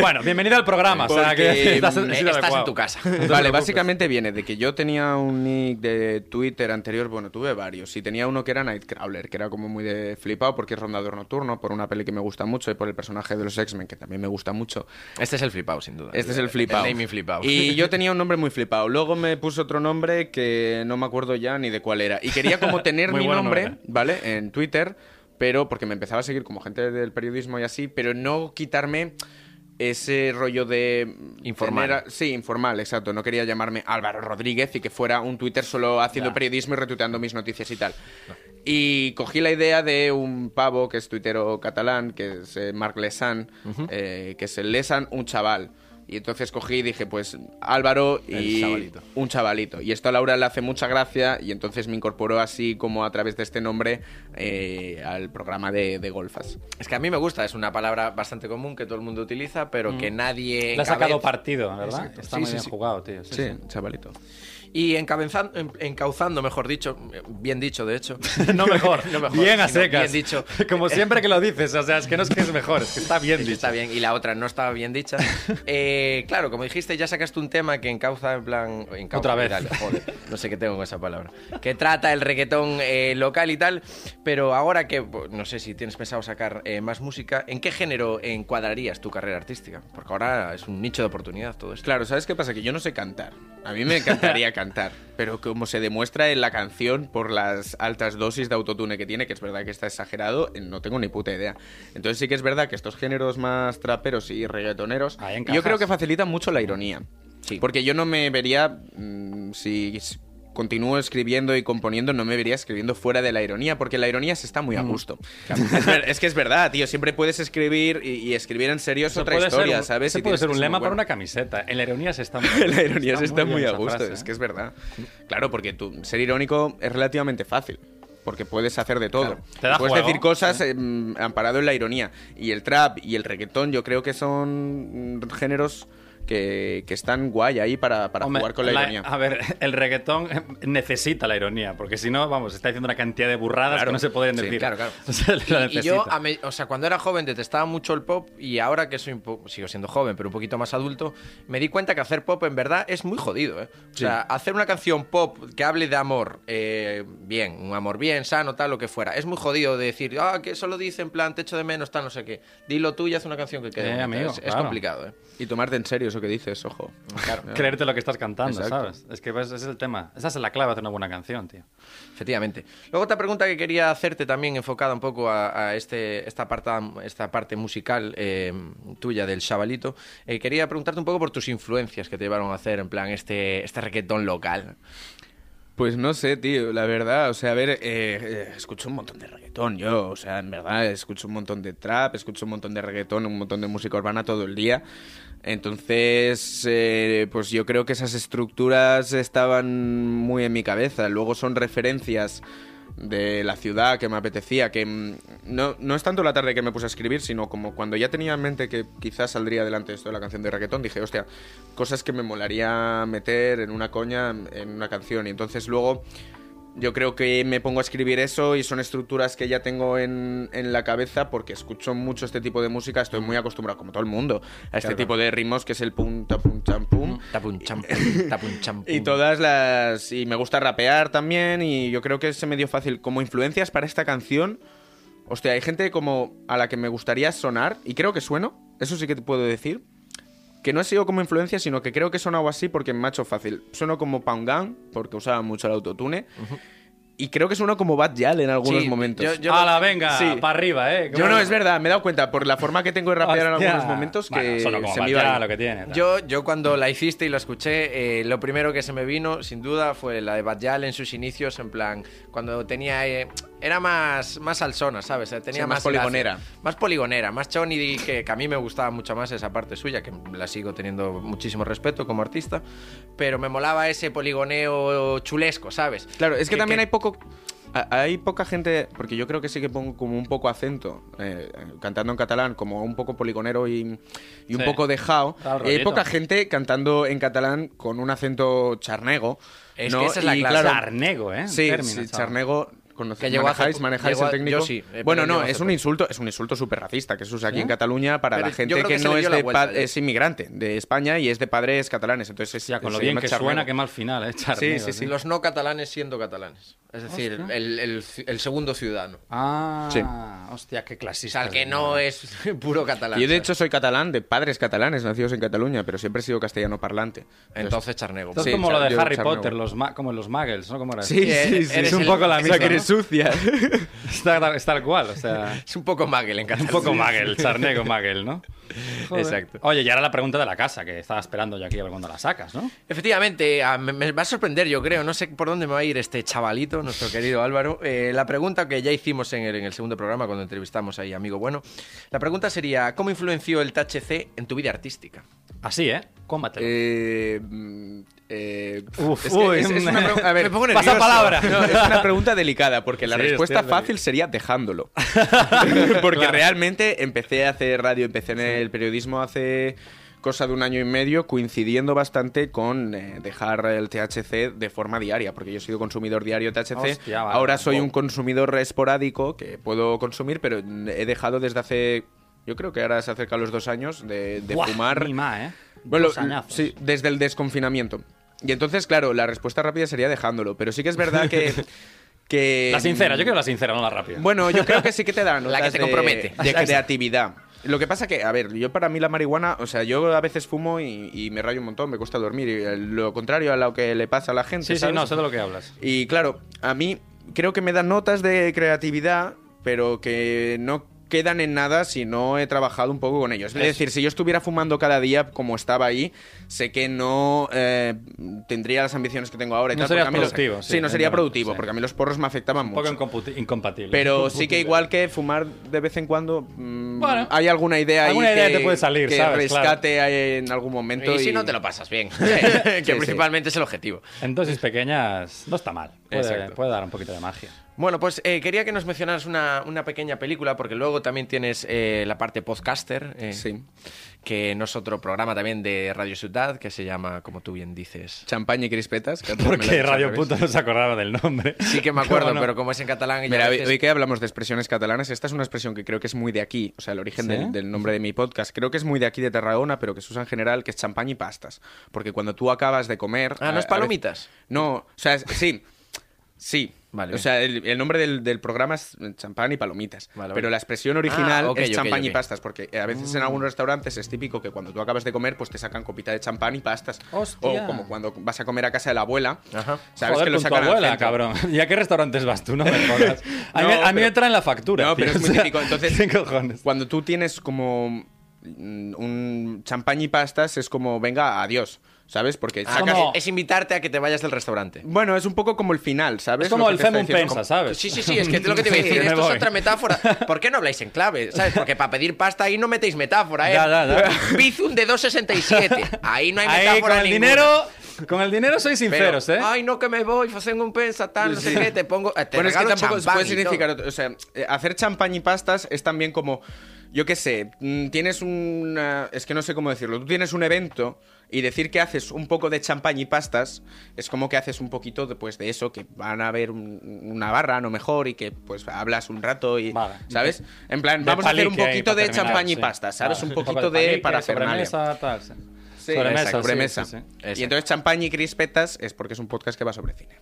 Speaker 1: Bueno, bienvenido al programa.
Speaker 3: Ah,
Speaker 1: o sea,
Speaker 2: Porque,
Speaker 1: que estás,
Speaker 2: mm,
Speaker 1: has sido
Speaker 2: estás
Speaker 1: adecuado.
Speaker 2: en tu casa.
Speaker 3: Vale, básicamente viene de que yo tenía un nick de Twitter anterior, bueno, tuve varios, y tenía uno que era Nightcrawler, que era como muy de flipado porque es rondador nocturno, por una peli que me gusta mucho y por el personaje de los X-Men, que también me gusta mucho.
Speaker 2: Este es el flipado, sin duda.
Speaker 3: Este es el flipado.
Speaker 2: naming flipado.
Speaker 3: Y yo tenía un nombre muy flipado. Luego me puse otro nombre que no me acuerdo ya ni de cuál era. Y quería como tener
Speaker 1: Muy
Speaker 3: mi
Speaker 1: bueno
Speaker 3: nombre,
Speaker 1: no era.
Speaker 3: ¿vale? En Twitter, pero porque me empezaba a seguir como gente del periodismo y así, pero no quitarme ese rollo de...
Speaker 2: Informal.
Speaker 3: tener a- sí, informal, exacto. No quería llamarme Álvaro Rodríguez y que fuera un Twitter solo haciendo periodismo y retuiteando mis noticias y tal. Y cogí la idea de un pavo que es tuitero catalán, que es eh, Marc Lesan, eh, que es el Lesan, un chaval. Y entonces cogí y dije, pues Álvaro y
Speaker 2: El chavalito.
Speaker 3: un chavalito. Y esto a Laura le hace mucha gracia y entonces me incorporó así como a través de este nombre eh, al programa de, de golfas.
Speaker 2: Es que a mí me gusta, es una palabra bastante común que todo el mundo utiliza, pero
Speaker 3: Mm.
Speaker 2: que nadie.
Speaker 1: Le has sacado
Speaker 2: encabez-
Speaker 1: partido, ¿verdad?
Speaker 2: Exacto.
Speaker 1: Está
Speaker 2: Sí,
Speaker 1: muy
Speaker 2: sí,
Speaker 1: bien
Speaker 2: sí.
Speaker 1: jugado, tío. sí, sí.
Speaker 3: chavalito.
Speaker 2: Y encabezan- en- encauzando, mejor dicho, eh, bien dicho, de hecho.
Speaker 1: No mejor,
Speaker 2: No mejor,
Speaker 1: bien a
Speaker 2: sino
Speaker 1: secas.
Speaker 2: bien dicho.
Speaker 1: Como siempre que lo dices, o sea, es que no es que es mejor, es que está bien
Speaker 2: Es que
Speaker 1: dicho.
Speaker 2: Está bien, y la otra no estaba bien dicha. Eh, claro, como dijiste, ya sacaste un tema que encauza en plan. encauza,
Speaker 1: Otra vez.
Speaker 2: dale, joder, no sé qué tengo con esa palabra. Que trata el reggaetón eh, local y tal. Pero ahora que bo- no sé si tienes pensado sacar eh, más música, ¿en qué género encuadrarías tu carrera artística? Porque ahora es un nicho de oportunidad todo esto.
Speaker 3: Claro, ¿sabes qué pasa? Que yo no sé cantar. A mí me encantaría cantar, pero como se demuestra en la canción por las altas dosis de autotune que tiene, que es verdad que está exagerado, eh, no tengo ni puta idea. Entonces sí que es verdad que estos géneros más traperos y reggaetoneros,
Speaker 1: Ahí encajas.
Speaker 3: yo creo que facilitan mucho la ironía.
Speaker 2: Sí.
Speaker 3: Porque yo no me vería, mm, si s- continúo escribiendo y componiendo, no me vería escribiendo fuera de la ironía, porque la ironía se está muy a
Speaker 1: Mm.
Speaker 3: gusto. Es, ver- es que es verdad, tío, siempre puedes escribir y, y escribir en serio es
Speaker 1: Eso
Speaker 3: otra
Speaker 1: puede ser
Speaker 3: historia,
Speaker 1: un-
Speaker 3: ¿sabes?
Speaker 1: eso
Speaker 3: Y
Speaker 1: puede
Speaker 3: tienes
Speaker 1: ser
Speaker 3: que
Speaker 1: un
Speaker 3: muy
Speaker 1: lema para
Speaker 3: bueno.
Speaker 1: una camiseta. En la ironía se está muy
Speaker 3: La ironía se está muy,
Speaker 1: bien
Speaker 3: a
Speaker 1: esa
Speaker 3: gusto,
Speaker 1: frase,
Speaker 3: es
Speaker 1: ¿eh?
Speaker 3: que es verdad. Claro, porque tú, ser irónico es relativamente fácil. Porque puedes hacer de todo.
Speaker 1: Claro, te da
Speaker 3: puedes
Speaker 1: juego,
Speaker 3: decir cosas em, amparado en la ironía. Y el trap y el reggaetón, yo creo que son mm, géneros que, que están guay ahí para, para
Speaker 1: Hombre,
Speaker 3: jugar con la,
Speaker 1: la-
Speaker 3: ironía.
Speaker 1: A ver, el reggaetón eh, necesita la ironía, porque si no, vamos, está diciendo una cantidad de burradas
Speaker 3: Claro.
Speaker 1: que no se podrían
Speaker 3: Sí,
Speaker 1: decir.
Speaker 2: claro, claro.
Speaker 1: O sea, la
Speaker 2: Y- Y yo,
Speaker 1: necesita.
Speaker 2: a me- o sea, cuando era joven detestaba mucho el pop y ahora que soy un po- sigo siendo joven, pero un poquito más adulto, me di cuenta que hacer pop en verdad es muy jodido. ¿eh? O sea, hacer una canción pop que hable de amor, eh, bien, un amor bien, sano, tal, lo que fuera, es muy jodido de decir, ah, que solo dice en plan, te echo de menos, tal, no sé qué. Dilo tú y haz una canción que quede.
Speaker 1: Eh,
Speaker 2: bonita.
Speaker 1: amigo,
Speaker 2: es, es
Speaker 1: claro.
Speaker 2: complicado, ¿eh?
Speaker 3: Y tomarte en serio eso que dices, ojo.
Speaker 1: Creerte lo que estás cantando,
Speaker 3: Exacto.
Speaker 1: ¿sabes? Es que pues, ese es el tema. Esa es la clave de hacer una buena canción, tío.
Speaker 2: Efectivamente. Luego otra pregunta que quería hacerte también enfocada un poco a, a este, esta, parte, esta parte musical eh, tuya del chavalito. Eh, quería preguntarte un poco por tus influencias que te llevaron a hacer en plan este, este reggaetón local.
Speaker 3: Pues no sé, tío, la verdad, o sea, a ver, eh, eh, escucho un montón de reggaetón yo, o sea, en verdad, escucho un montón de trap, escucho un montón de reggaetón, un montón de música urbana todo el día. Entonces, eh, pues yo creo que esas estructuras estaban muy en mi cabeza. Luego son referencias de la ciudad que me apetecía, que mm, no, no es tanto la tarde que me puse a escribir, sino como cuando ya tenía en mente que quizás saldría adelante esto de la canción de reggaetón, dije, hostia, cosas que me molaría meter en una coña, en una canción. Y entonces luego yo creo que me pongo a escribir eso y son estructuras que ya tengo en, en la cabeza porque escucho mucho este tipo de música, estoy muy acostumbrado, como todo el mundo, a este tipo de ritmos que es el pum, ta, pum, cham, pum.
Speaker 2: Tapun champun, tapun champun.
Speaker 3: Y todas las. Y me gusta rapear también. Y yo creo que se me dio fácil. Como influencias para esta canción. Hostia, hay gente como a la que me gustaría sonar. Y creo que sueno. Eso sí que te puedo decir. Que no he sido como influencia, sino que creo que he sonado así porque me ha hecho fácil. Sueno como Pangan, porque usaba mucho el autotune. Y creo que sueno como Bad Yal en algunos
Speaker 2: Sí,
Speaker 3: momentos.
Speaker 2: yo- yo-
Speaker 1: ¡Hala, venga!
Speaker 3: Sí.
Speaker 1: Para arriba, ¿eh?
Speaker 3: Yo no, es verdad, me he dado cuenta por la forma que tengo de rapear en algunos momentos que se me iba. ahí.
Speaker 1: lo que tiene. tal.
Speaker 2: Yo, yo cuando la hiciste y la escuché, eh, lo primero que se me vino, sin duda, fue la de Bajal en sus inicios, en plan, cuando tenía... eh, era más, más salsona, ¿sabes? Eh, Tenía
Speaker 3: Sí, más
Speaker 2: gracia.
Speaker 3: poligonera.
Speaker 2: Más poligonera, más choni, que, que a mí me gustaba mucho más esa parte suya, que la sigo teniendo muchísimo respeto como artista, pero me molaba ese poligoneo chulesco, ¿sabes?
Speaker 3: Claro, es que, también hay poco. a- Hay poca gente, porque yo creo que sí que pongo como un poco acento, eh, cantando en catalán, como un poco poligonero y, y un
Speaker 1: Sí.
Speaker 3: poco dejado.
Speaker 1: Tal
Speaker 3: Y hay
Speaker 1: rollito.
Speaker 3: poca gente cantando en catalán con un acento charnego.
Speaker 2: Es
Speaker 3: ¿no?
Speaker 2: que esa es la
Speaker 3: Y
Speaker 2: clave.
Speaker 3: claro,
Speaker 1: Charnego, ¿eh?
Speaker 3: Sí,
Speaker 1: Término,
Speaker 3: sí,
Speaker 1: chaval.
Speaker 3: charnego Conoce-
Speaker 2: Que llegó hace
Speaker 3: manejáis,
Speaker 2: po-
Speaker 3: manejáis
Speaker 2: llegó
Speaker 3: el
Speaker 2: a-
Speaker 3: técnico.
Speaker 2: yo sí, eh, pero
Speaker 3: bueno,
Speaker 2: llegó
Speaker 3: no,
Speaker 2: hace
Speaker 3: es un
Speaker 2: poco.
Speaker 3: insulto, es un insulto súper racista que se usa aquí en Cataluña para
Speaker 2: Pero
Speaker 3: la
Speaker 2: yo
Speaker 3: gente
Speaker 2: creo
Speaker 3: que,
Speaker 2: que se
Speaker 3: no
Speaker 2: le
Speaker 3: es
Speaker 2: dio la
Speaker 3: de
Speaker 2: vuelta,
Speaker 3: pa-
Speaker 2: ya.
Speaker 3: es inmigrante de España y es de padres catalanes, entonces es-
Speaker 1: Ya, con lo
Speaker 3: se
Speaker 1: bien
Speaker 3: llama
Speaker 1: que
Speaker 3: charnego.
Speaker 1: suena, qué mal final, ¿eh? Charnego,
Speaker 3: sí, sí.
Speaker 1: tío.
Speaker 2: Los no catalanes siendo catalanes. Es decir, el, el- el segundo ciudadano.
Speaker 1: Ah,
Speaker 3: Sí.
Speaker 1: hostia, qué
Speaker 2: O
Speaker 1: clasista.
Speaker 2: sea, el que no es puro catalán.
Speaker 3: Yo de hecho soy catalán de padres catalanes nacidos en Cataluña, pero siempre he sido castellano parlante.
Speaker 2: Entonces, charnego.
Speaker 1: Esto es
Speaker 3: Sí,
Speaker 1: como lo
Speaker 3: char-
Speaker 1: de
Speaker 3: yo,
Speaker 1: Harry
Speaker 3: charnego.
Speaker 1: Potter, los ma- como los muggles, ¿no? ¿Cómo era?
Speaker 3: Sí,
Speaker 2: Eh,
Speaker 3: sí, sí.
Speaker 2: eres
Speaker 1: Es un poco la
Speaker 3: O sea,
Speaker 1: misma.
Speaker 3: que eres
Speaker 1: ¿no?
Speaker 3: sucia.
Speaker 1: Es tal- es tal cual, o sea...
Speaker 2: Es un poco maguel en
Speaker 1: Un
Speaker 2: catalán.
Speaker 1: poco Magel, charnego Magel, ¿no?
Speaker 2: Exacto.
Speaker 1: Oye, y ahora la pregunta de la casa, que estaba esperando yo aquí a ver cuándo la sacas, ¿no?
Speaker 2: Efectivamente, a- me, me va a sorprender, yo creo. No sé por dónde me va a ir este chavalito, nuestro querido Álvaro. Eh, la pregunta que ya hicimos en el, en el segundo programa cuando entrevistamos ahí, amigo bueno. La pregunta sería: ¿Cómo influenció el THC en tu vida artística?
Speaker 1: Así, ¿eh? Cómbatelo.
Speaker 3: Eh, mm, eh,
Speaker 1: Uf,
Speaker 3: es que
Speaker 1: uy,
Speaker 3: es- es una pregu- a ver,
Speaker 2: me pongo
Speaker 1: pasa
Speaker 2: nervioso.
Speaker 1: palabra.
Speaker 3: No, es una pregunta delicada, porque la
Speaker 1: Sí,
Speaker 3: respuesta
Speaker 1: estoy
Speaker 3: fácil sería dejándolo. porque realmente empecé a hacer radio, empecé en el periodismo hace cosa de un año y medio, coincidiendo bastante con eh, dejar el THC de forma diaria, porque yo he sido consumidor diario de THC.
Speaker 1: Hostia, vale.
Speaker 3: Ahora soy
Speaker 1: Wow.
Speaker 3: un consumidor esporádico que puedo consumir, pero mm, he dejado desde hace... Yo creo que ahora se acerca a los dos años de, de
Speaker 1: Buah,
Speaker 3: fumar.
Speaker 1: ni más, ¿eh?
Speaker 3: Bueno,
Speaker 1: Dos añazos.
Speaker 3: sí, desde el desconfinamiento. Y entonces, claro, la respuesta rápida sería dejándolo, pero sí que es verdad que... que
Speaker 1: La sincera, yo quiero la sincera, no la rápida.
Speaker 3: Bueno, yo creo que sí que te dan
Speaker 2: La que te compromete.
Speaker 3: De creatividad. Lo que pasa que, a ver, yo para mí la marihuana, o sea, yo a veces fumo y, y me rayo un montón, me cuesta dormir, y eh, lo contrario a lo que le pasa a la gente.
Speaker 1: sí, sí,
Speaker 3: ¿sabes?
Speaker 1: no, sé de lo que hablas.
Speaker 3: Y claro, a mí creo que me dan notas de creatividad, pero que no quedan en nada si no he trabajado un poco con ellos. Es decir, si yo estuviera fumando cada día como estaba ahí, sé que no eh, tendría las ambiciones que tengo ahora. Y
Speaker 1: No
Speaker 3: tal,
Speaker 1: serías
Speaker 3: porque a mí los-
Speaker 1: productivo, sí,
Speaker 3: sí, no sería
Speaker 1: entiendo,
Speaker 3: productivo,
Speaker 1: sí.
Speaker 3: porque a mí los porros me afectaban
Speaker 1: Un
Speaker 3: mucho.
Speaker 1: poco incomputi- incompatible.
Speaker 3: Pero sí que igual que fumar de vez en cuando, mm,
Speaker 1: Bueno.
Speaker 3: hay alguna idea ahí
Speaker 1: Alguna idea
Speaker 3: que,
Speaker 1: te puede salir,
Speaker 3: que
Speaker 1: ¿sabes? Claro.
Speaker 3: rescate en algún momento.
Speaker 2: Y si no, te lo pasas bien. que
Speaker 3: sí.
Speaker 2: principalmente es el objetivo.
Speaker 1: En dosis pequeñas no está mal. Puede,
Speaker 2: Exacto.
Speaker 1: puede dar un poquito de magia.
Speaker 2: Bueno, pues eh, quería que nos mencionaras una, una pequeña película, porque luego también tienes eh, la parte podcaster, eh,
Speaker 3: Sí.
Speaker 2: que no es otro programa también de Radio Ciudad, que se llama, como tú bien dices.
Speaker 3: Champaña y crispetas. que antes me lo has
Speaker 1: Porque
Speaker 3: dicho al
Speaker 1: Radio
Speaker 3: revés.
Speaker 1: Puto no se acordaba del nombre.
Speaker 2: Sí que me acuerdo,
Speaker 1: Bueno,
Speaker 2: pero como es en catalán... y yo
Speaker 3: Mira,
Speaker 2: a
Speaker 3: hoy,
Speaker 2: veces-
Speaker 3: hoy que hablamos de expresiones catalanas, esta es una expresión que creo que es muy de aquí, o sea, el origen
Speaker 1: ¿Sí?
Speaker 3: del, del nombre de mi podcast, creo que es muy de aquí de Tarragona, pero que se usa en general, que es champán y pastas. Porque cuando tú acabas de comer...
Speaker 2: Ah, ¿no es
Speaker 3: a- a
Speaker 2: palomitas?
Speaker 3: veces- No, o sea, es- sí. Sí,
Speaker 2: Vale,
Speaker 3: o sea, el, el nombre del, del programa es champán y palomitas,
Speaker 2: Vale,
Speaker 3: pero
Speaker 2: vale.
Speaker 3: la expresión original
Speaker 2: Ah, ok,
Speaker 3: es
Speaker 2: ok,
Speaker 3: champán y
Speaker 2: ok. Mm.
Speaker 3: pastas, porque a veces en algunos restaurantes es típico que cuando tú acabas de comer, pues te sacan copita de champán y pastas.
Speaker 1: Hostia.
Speaker 3: O como cuando vas a comer a casa de la abuela,
Speaker 2: Ajá.
Speaker 3: sabes
Speaker 1: Joder,
Speaker 3: que lo
Speaker 1: con tu
Speaker 3: sacan al
Speaker 1: abuela,
Speaker 3: centro.
Speaker 1: cabrón. ¿Y a qué restaurantes vas tú? No me jodas. A, mí,
Speaker 3: No,
Speaker 1: a mí
Speaker 3: pero-
Speaker 1: me traen la factura.
Speaker 3: No, pero
Speaker 1: tío,
Speaker 3: es muy
Speaker 1: o sea,
Speaker 3: típico. Entonces,
Speaker 1: ¿qué cojones?
Speaker 3: cuando tú tienes como mm, un champán y pastas, es como, venga, adiós, ¿sabes? Porque
Speaker 2: Ah,
Speaker 3: sacas...
Speaker 1: como-
Speaker 2: es, es invitarte a que te vayas del restaurante.
Speaker 3: Bueno, es un poco como el final, ¿sabes?
Speaker 1: Es como
Speaker 3: Lo que
Speaker 1: el
Speaker 3: te está
Speaker 1: Femum
Speaker 3: diciendo,
Speaker 1: Pensa,
Speaker 3: como-
Speaker 1: ¿sabes?
Speaker 2: Sí, sí, sí, es que es lo que te iba
Speaker 1: Sí,
Speaker 2: a decir.
Speaker 1: me
Speaker 2: Esto es
Speaker 1: voy.
Speaker 2: otra metáfora. ¿Por qué no habláis en clave? ¿Sabes? Porque para pedir pasta ahí no metéis metáfora, ¿eh?
Speaker 1: Ya, ya, ya.
Speaker 2: Bizum de 2,67. Ahí no hay metáfora
Speaker 1: Ahí, con el
Speaker 2: ninguna.
Speaker 1: dinero, con el dinero soy
Speaker 2: Pero,
Speaker 1: sinceros, ¿eh?
Speaker 2: Ay, no, que me voy, hacen un pensa, tal, no sé qué, te pongo. eh, Te
Speaker 3: bueno, es que
Speaker 2: regalo
Speaker 3: tampoco
Speaker 2: champán
Speaker 3: puede
Speaker 2: y
Speaker 3: significar...
Speaker 2: todo.
Speaker 3: otro- O sea, eh, hacer champán y pastas es también como... Yo qué sé, mm, tienes una... Es que no sé cómo decirlo. Tú tienes un evento y decir que haces un poco de champán y pastas es como que haces un poquito después de eso, que van a ver un- una barra a lo mejor y que pues hablas un rato y...
Speaker 1: Vale.
Speaker 3: ¿Sabes? En plan,
Speaker 1: De
Speaker 3: vamos a hacer un
Speaker 1: palique ahí
Speaker 3: poquito
Speaker 1: para
Speaker 3: de
Speaker 1: terminar,
Speaker 3: champán y
Speaker 1: sí.
Speaker 3: pastas, ¿sabes?
Speaker 1: Vale.
Speaker 3: Un poquito
Speaker 1: palique,
Speaker 3: de parafernalia.
Speaker 1: sobremesa, tal, sí.
Speaker 3: Sí,
Speaker 1: Sobremesa,
Speaker 3: exacto,
Speaker 1: sí,
Speaker 3: sobremesa.
Speaker 1: sí, sí.
Speaker 3: Y
Speaker 2: Exacto.
Speaker 3: entonces champán y crispetas es porque es un podcast que va sobre cine.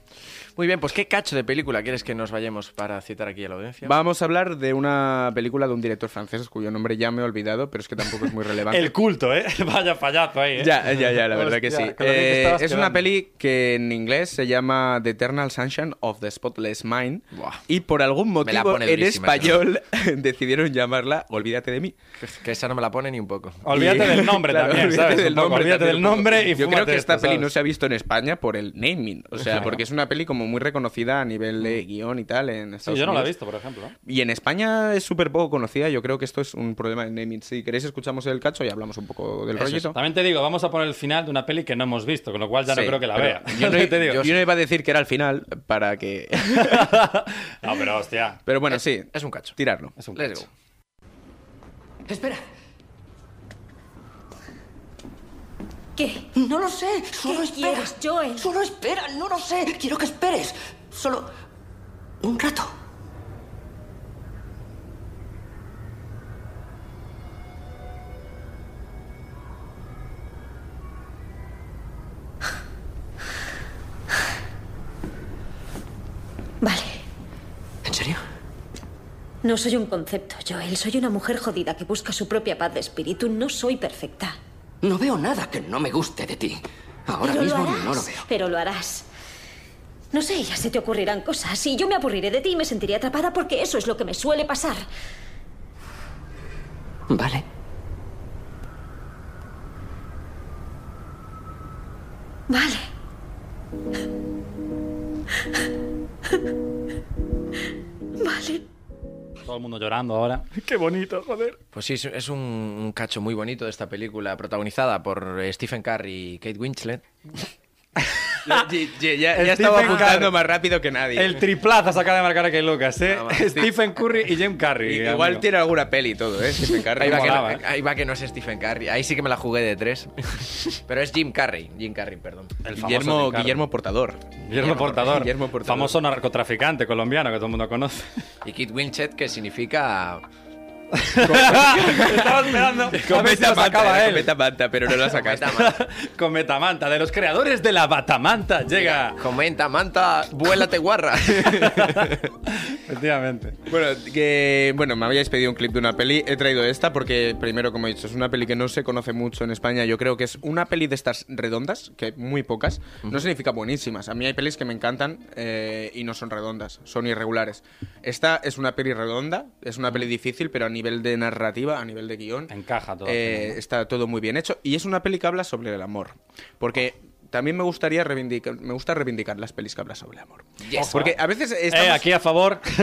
Speaker 2: Muy bien, pues ¿qué cacho de película quieres que nos vayamos para citar aquí a la audiencia?
Speaker 3: Vamos a hablar de una película de un director francés cuyo nombre ya me he olvidado, pero es que tampoco es muy relevante.
Speaker 1: El culto, ¿eh? Vaya payazo ahí, ¿eh?
Speaker 3: Ya, ya, ya, la verdad
Speaker 1: Hostia,
Speaker 3: que sí.
Speaker 1: con lo bien que
Speaker 3: Eh,
Speaker 1: estabas
Speaker 3: es una
Speaker 1: quedando.
Speaker 3: peli que en inglés se llama The Eternal Sunshine of the Spotless Mind
Speaker 2: Buah.
Speaker 3: y por algún
Speaker 2: Me la
Speaker 3: motivo
Speaker 2: pone
Speaker 3: en
Speaker 2: durísima,
Speaker 3: español decidieron llamarla Olvídate de mí.
Speaker 2: Que esa no me la pone ni un poco.
Speaker 1: Olvídate
Speaker 3: Y-
Speaker 1: del nombre
Speaker 3: Claro,
Speaker 1: también,
Speaker 3: olvídate
Speaker 1: ¿sabes? Un
Speaker 3: del
Speaker 1: poco,
Speaker 3: nombre
Speaker 1: olvídate del
Speaker 3: también un poco.
Speaker 1: nombre y
Speaker 3: Yo creo
Speaker 1: fúmate
Speaker 3: que esta
Speaker 1: esto,
Speaker 3: peli
Speaker 1: ¿sabes?
Speaker 3: no se ha visto en España por el naming, o sea, porque es una peli como muy reconocida a nivel de guión y tal en
Speaker 1: Mm. Sí,
Speaker 3: Estados
Speaker 1: yo no la he
Speaker 3: Unidos.
Speaker 1: visto, por ejemplo.
Speaker 3: Y en España es súper poco conocida. Yo creo que esto es un problema de naming. Si queréis, escuchamos el cacho y hablamos un poco del
Speaker 2: Eso
Speaker 3: rollito.
Speaker 1: También te digo, vamos a poner el final de una peli que no hemos visto, con lo cual ya no
Speaker 3: Sí,
Speaker 1: creo que la
Speaker 3: pero
Speaker 1: vea.
Speaker 3: Yo no,
Speaker 1: te digo.
Speaker 3: yo no iba a decir que era el final para que.
Speaker 1: No, pero hostia.
Speaker 3: Pero bueno, sí.
Speaker 2: Es un cacho.
Speaker 3: Tirarlo.
Speaker 1: Es un
Speaker 2: Let's
Speaker 1: cacho.
Speaker 2: go.
Speaker 6: Espera,
Speaker 7: ¿Qué?
Speaker 6: no lo sé. Solo
Speaker 7: ¿Qué
Speaker 6: espera.
Speaker 7: quieres, Joel?
Speaker 6: Solo espera, no lo sé. Quiero que esperes. Solo
Speaker 7: Un rato. Vale.
Speaker 6: ¿En serio?
Speaker 7: No soy un concepto, Joel. Soy una mujer jodida que busca su propia paz de espíritu. No soy perfecta.
Speaker 6: No veo nada que no me guste de ti. Ahora
Speaker 7: pero
Speaker 6: mismo
Speaker 7: lo harás,
Speaker 6: no lo veo.
Speaker 7: Pero lo harás. No sé, ya se te ocurrirán cosas. Y yo me aburriré de ti y me sentiré atrapada porque eso es lo que me suele pasar.
Speaker 6: Vale.
Speaker 7: Vale. Vale.
Speaker 1: Todo el mundo llorando ahora. Qué bonito, joder.
Speaker 2: Pues sí, es- es un, un cacho muy bonito de esta película, protagonizada por eh, Stephen Curry y Kate Winslet. ya, ya- ya
Speaker 1: Stephen
Speaker 2: estaba apuntando
Speaker 1: Curry.
Speaker 2: más.
Speaker 3: Más rápido que nadie.
Speaker 1: El triplazo se acaba de marcar aquí Lucas, ¿eh?
Speaker 2: Nada más.
Speaker 1: Stephen Curry y Jim Carrey.
Speaker 3: Igual
Speaker 1: amigo.
Speaker 3: tiene alguna peli y todo, ¿eh? Stephen Curry.
Speaker 2: Ahí va, que no,
Speaker 1: Molaba, ¿eh?
Speaker 2: ahí va que no es Stephen Curry. Ahí sí que me la jugué de tres. Pero es Jim Carrey. Jim Carrey, perdón.
Speaker 1: El famoso
Speaker 3: Guillermo,
Speaker 1: Jim Carrey.
Speaker 3: Guillermo Portador.
Speaker 1: Guillermo Portador.
Speaker 3: Guillermo Portador.
Speaker 1: Famoso narcotraficante colombiano que todo el mundo conoce.
Speaker 2: Y Kate Winslet, que significa...
Speaker 1: Estaba esperando. A ver si lo
Speaker 3: Manta,
Speaker 1: sacaba
Speaker 3: era
Speaker 1: él.
Speaker 3: Cometa Manta, pero no la sacaste.
Speaker 2: Comenta,
Speaker 1: Con Metamanta, de los creadores de la Batamanta, llega.
Speaker 2: man- Comenta, manta, vuélate guarra.
Speaker 1: Efectivamente.
Speaker 3: Bueno, que, bueno, me habíais pedido un clip de una peli. He traído esta porque, primero, como he dicho, es una peli que no se conoce mucho en España. Yo creo que es una peli de estas redondas, que hay muy pocas. No significa buenísimas. A mí hay pelis que me encantan eh, y no son redondas, son irregulares. Esta es una peli redonda, es una peli difícil, pero a nivel de narrativa, a nivel de guión,
Speaker 1: Encaja todo.
Speaker 3: eh, está todo muy bien hecho. Y es una peli que habla sobre el amor. Porque también me gustaría reivindicar, me gusta reivindicar las pelis que hablan sobre el amor.
Speaker 2: Yes.
Speaker 3: Porque a veces
Speaker 1: Eh,
Speaker 3: estamos...
Speaker 1: aquí a favor.
Speaker 3: Sí,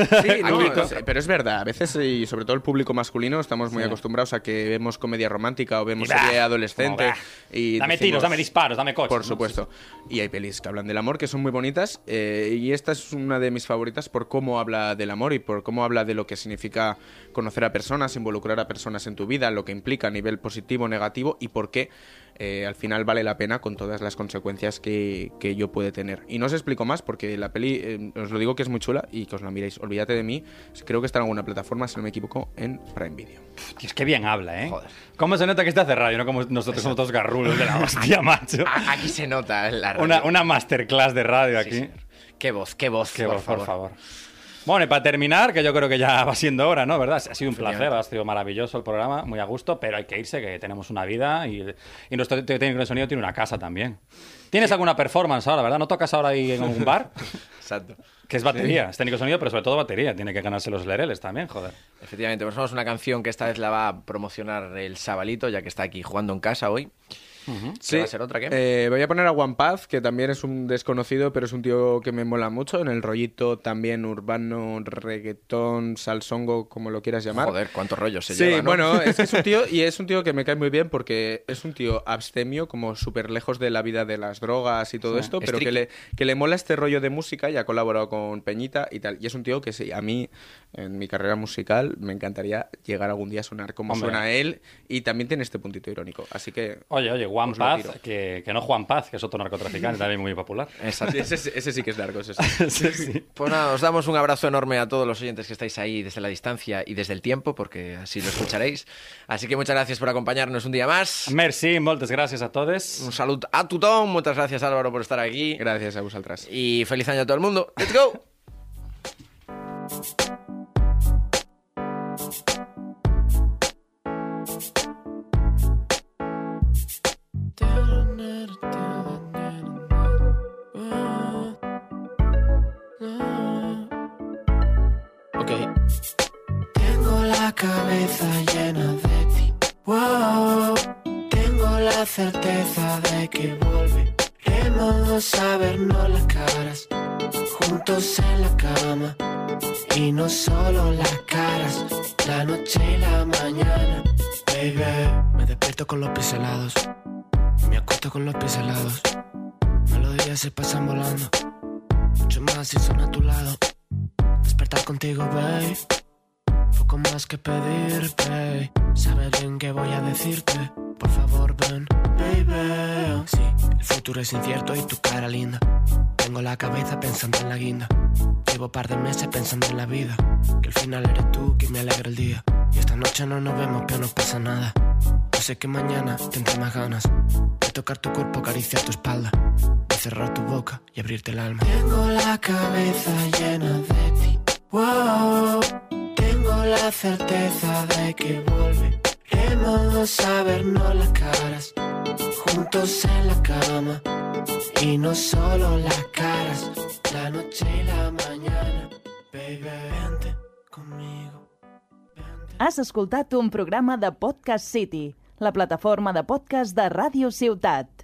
Speaker 3: no,
Speaker 1: Público.
Speaker 3: o sea, pero es verdad, a veces, y sobre todo el público masculino, estamos muy acostumbrados a que vemos comedia romántica o vemos
Speaker 1: Y bah,
Speaker 3: serie adolescente.
Speaker 1: como bah.
Speaker 3: Y
Speaker 1: Dame
Speaker 3: decimos-
Speaker 1: tiros, dame disparos, dame coches.
Speaker 3: Por
Speaker 1: ¿no?
Speaker 3: supuesto. Y hay pelis que hablan del amor que son muy bonitas, eh, y esta es una de mis favoritas por cómo habla del amor y por cómo habla de lo que significa conocer a personas, involucrar a personas en tu vida, lo que implica a nivel positivo, negativo y por qué. eh, al final vale la pena con todas las consecuencias que, que ello puede tener. Y no os explico más porque la peli, eh, os lo digo que es muy chula y que os la miréis. Olvídate de mí, creo que está en alguna plataforma, si no me equivoco, en Prime Video.
Speaker 1: Tío, es que bien habla, ¿eh?
Speaker 2: Joder.
Speaker 1: ¿Cómo se nota que está hace radio, no como nosotros somos todos garrulos de la hostia, macho?
Speaker 2: A- Aquí se nota la radio.
Speaker 1: Una, una masterclass de radio
Speaker 2: Ah, Sí,
Speaker 1: aquí.
Speaker 2: señor. Qué voz, qué voz,
Speaker 1: Que,
Speaker 2: por,
Speaker 1: por,
Speaker 2: favor.
Speaker 1: favor. Bueno, y para terminar, que yo creo que ya va siendo hora, ¿no? ¿Verdad? Ha sido un placer, ha sido maravilloso el programa, muy a gusto, pero hay que irse, que tenemos una vida y, y nuestro te- técnico de sonido tiene una casa también. ¿Tienes alguna performance ahora, verdad? ¿No tocas ahora ahí en un bar?
Speaker 2: Exacto.
Speaker 1: Que es batería, es técnico de sonido, pero sobre todo batería. Tiene que ganarse los lereles también, joder.
Speaker 2: Efectivamente, pues vamos a una canción que esta vez la va a promocionar el Sabalito, ya que está aquí jugando en casa hoy. ¿Qué va a ser otra, qué?
Speaker 3: Eh, voy a poner a One Path, que también es un desconocido, pero es un tío que me mola mucho. En el rollito también urbano, reggaetón, salsongo, como lo quieras llamar.
Speaker 2: Joder, cuántos rollos se
Speaker 3: Sí,
Speaker 2: lleva, ¿no?
Speaker 3: bueno, es que es un tío y es un tío que me cae muy bien porque es un tío abstemio, como súper lejos de la vida de las drogas y todo esto, pero que le, que le mola este rollo de música y ha colaborado con Peñita y tal. Y es un tío que sí, a mí, en mi carrera musical, me encantaría llegar algún día a sonar como
Speaker 1: Hombre.
Speaker 3: suena él y tamén tiene este puntito irónico. Así que...
Speaker 1: Oye, oye, Juan
Speaker 3: Os lo
Speaker 1: Paz,
Speaker 3: tiro.
Speaker 1: que, que no Juan Paz, que es otro narcotraficante también muy popular.
Speaker 2: Exacto.
Speaker 3: Ese, ese sí que es largo, ese sí.
Speaker 1: Sí, sí.
Speaker 2: Pues nada, os damos un abrazo enorme a todos los oyentes que estáis ahí desde la distancia y desde el tiempo, porque así lo escucharéis. Así que muchas gracias por acompañarnos un día más.
Speaker 1: Merci, moltes gracias a todos.
Speaker 2: Un saludo a Tutón, muchas gracias Álvaro por estar aquí.
Speaker 3: Gracias a vosotras.
Speaker 2: Y feliz año a todo el mundo. ¡Let's go!
Speaker 5: Tengo la cabeza llena de ti. Wow. Tengo la certeza de que volveremos a vernos las caras. Juntos en la cama. Y no solo las caras, la noche y la mañana. Baby, me despierto con los pies helados. Me acuesto con los pies helados. Melodías se pasan volando. Mucho más si son a tu lado. Despertar contigo, babe. Poco más que pedirte. Sabes bien que voy a decirte. Por favor, ven, baby. Sí, el futuro es incierto y tu cara linda. Tengo la cabeza pensando en la guinda. Llevo par de meses pensando en la vida. Que al final eres tú quien me alegra el día. Y esta noche no nos vemos, pero no pasa nada. Yo sé que mañana tendré más ganas de tocar tu cuerpo, acariciar tu espalda, de cerrar tu boca y abrirte el alma.
Speaker 7: Tengo la cabeza llena de ti. Wow. Tengo la certeza de que volveremos a vernos las caras. Juntos en la cama. Y no solo las caras. La noche y la mañana. Baby, vente conmigo.
Speaker 8: Has escoltat un programa de Podcast City, la plataforma de podcast de Ràdio Ciutat.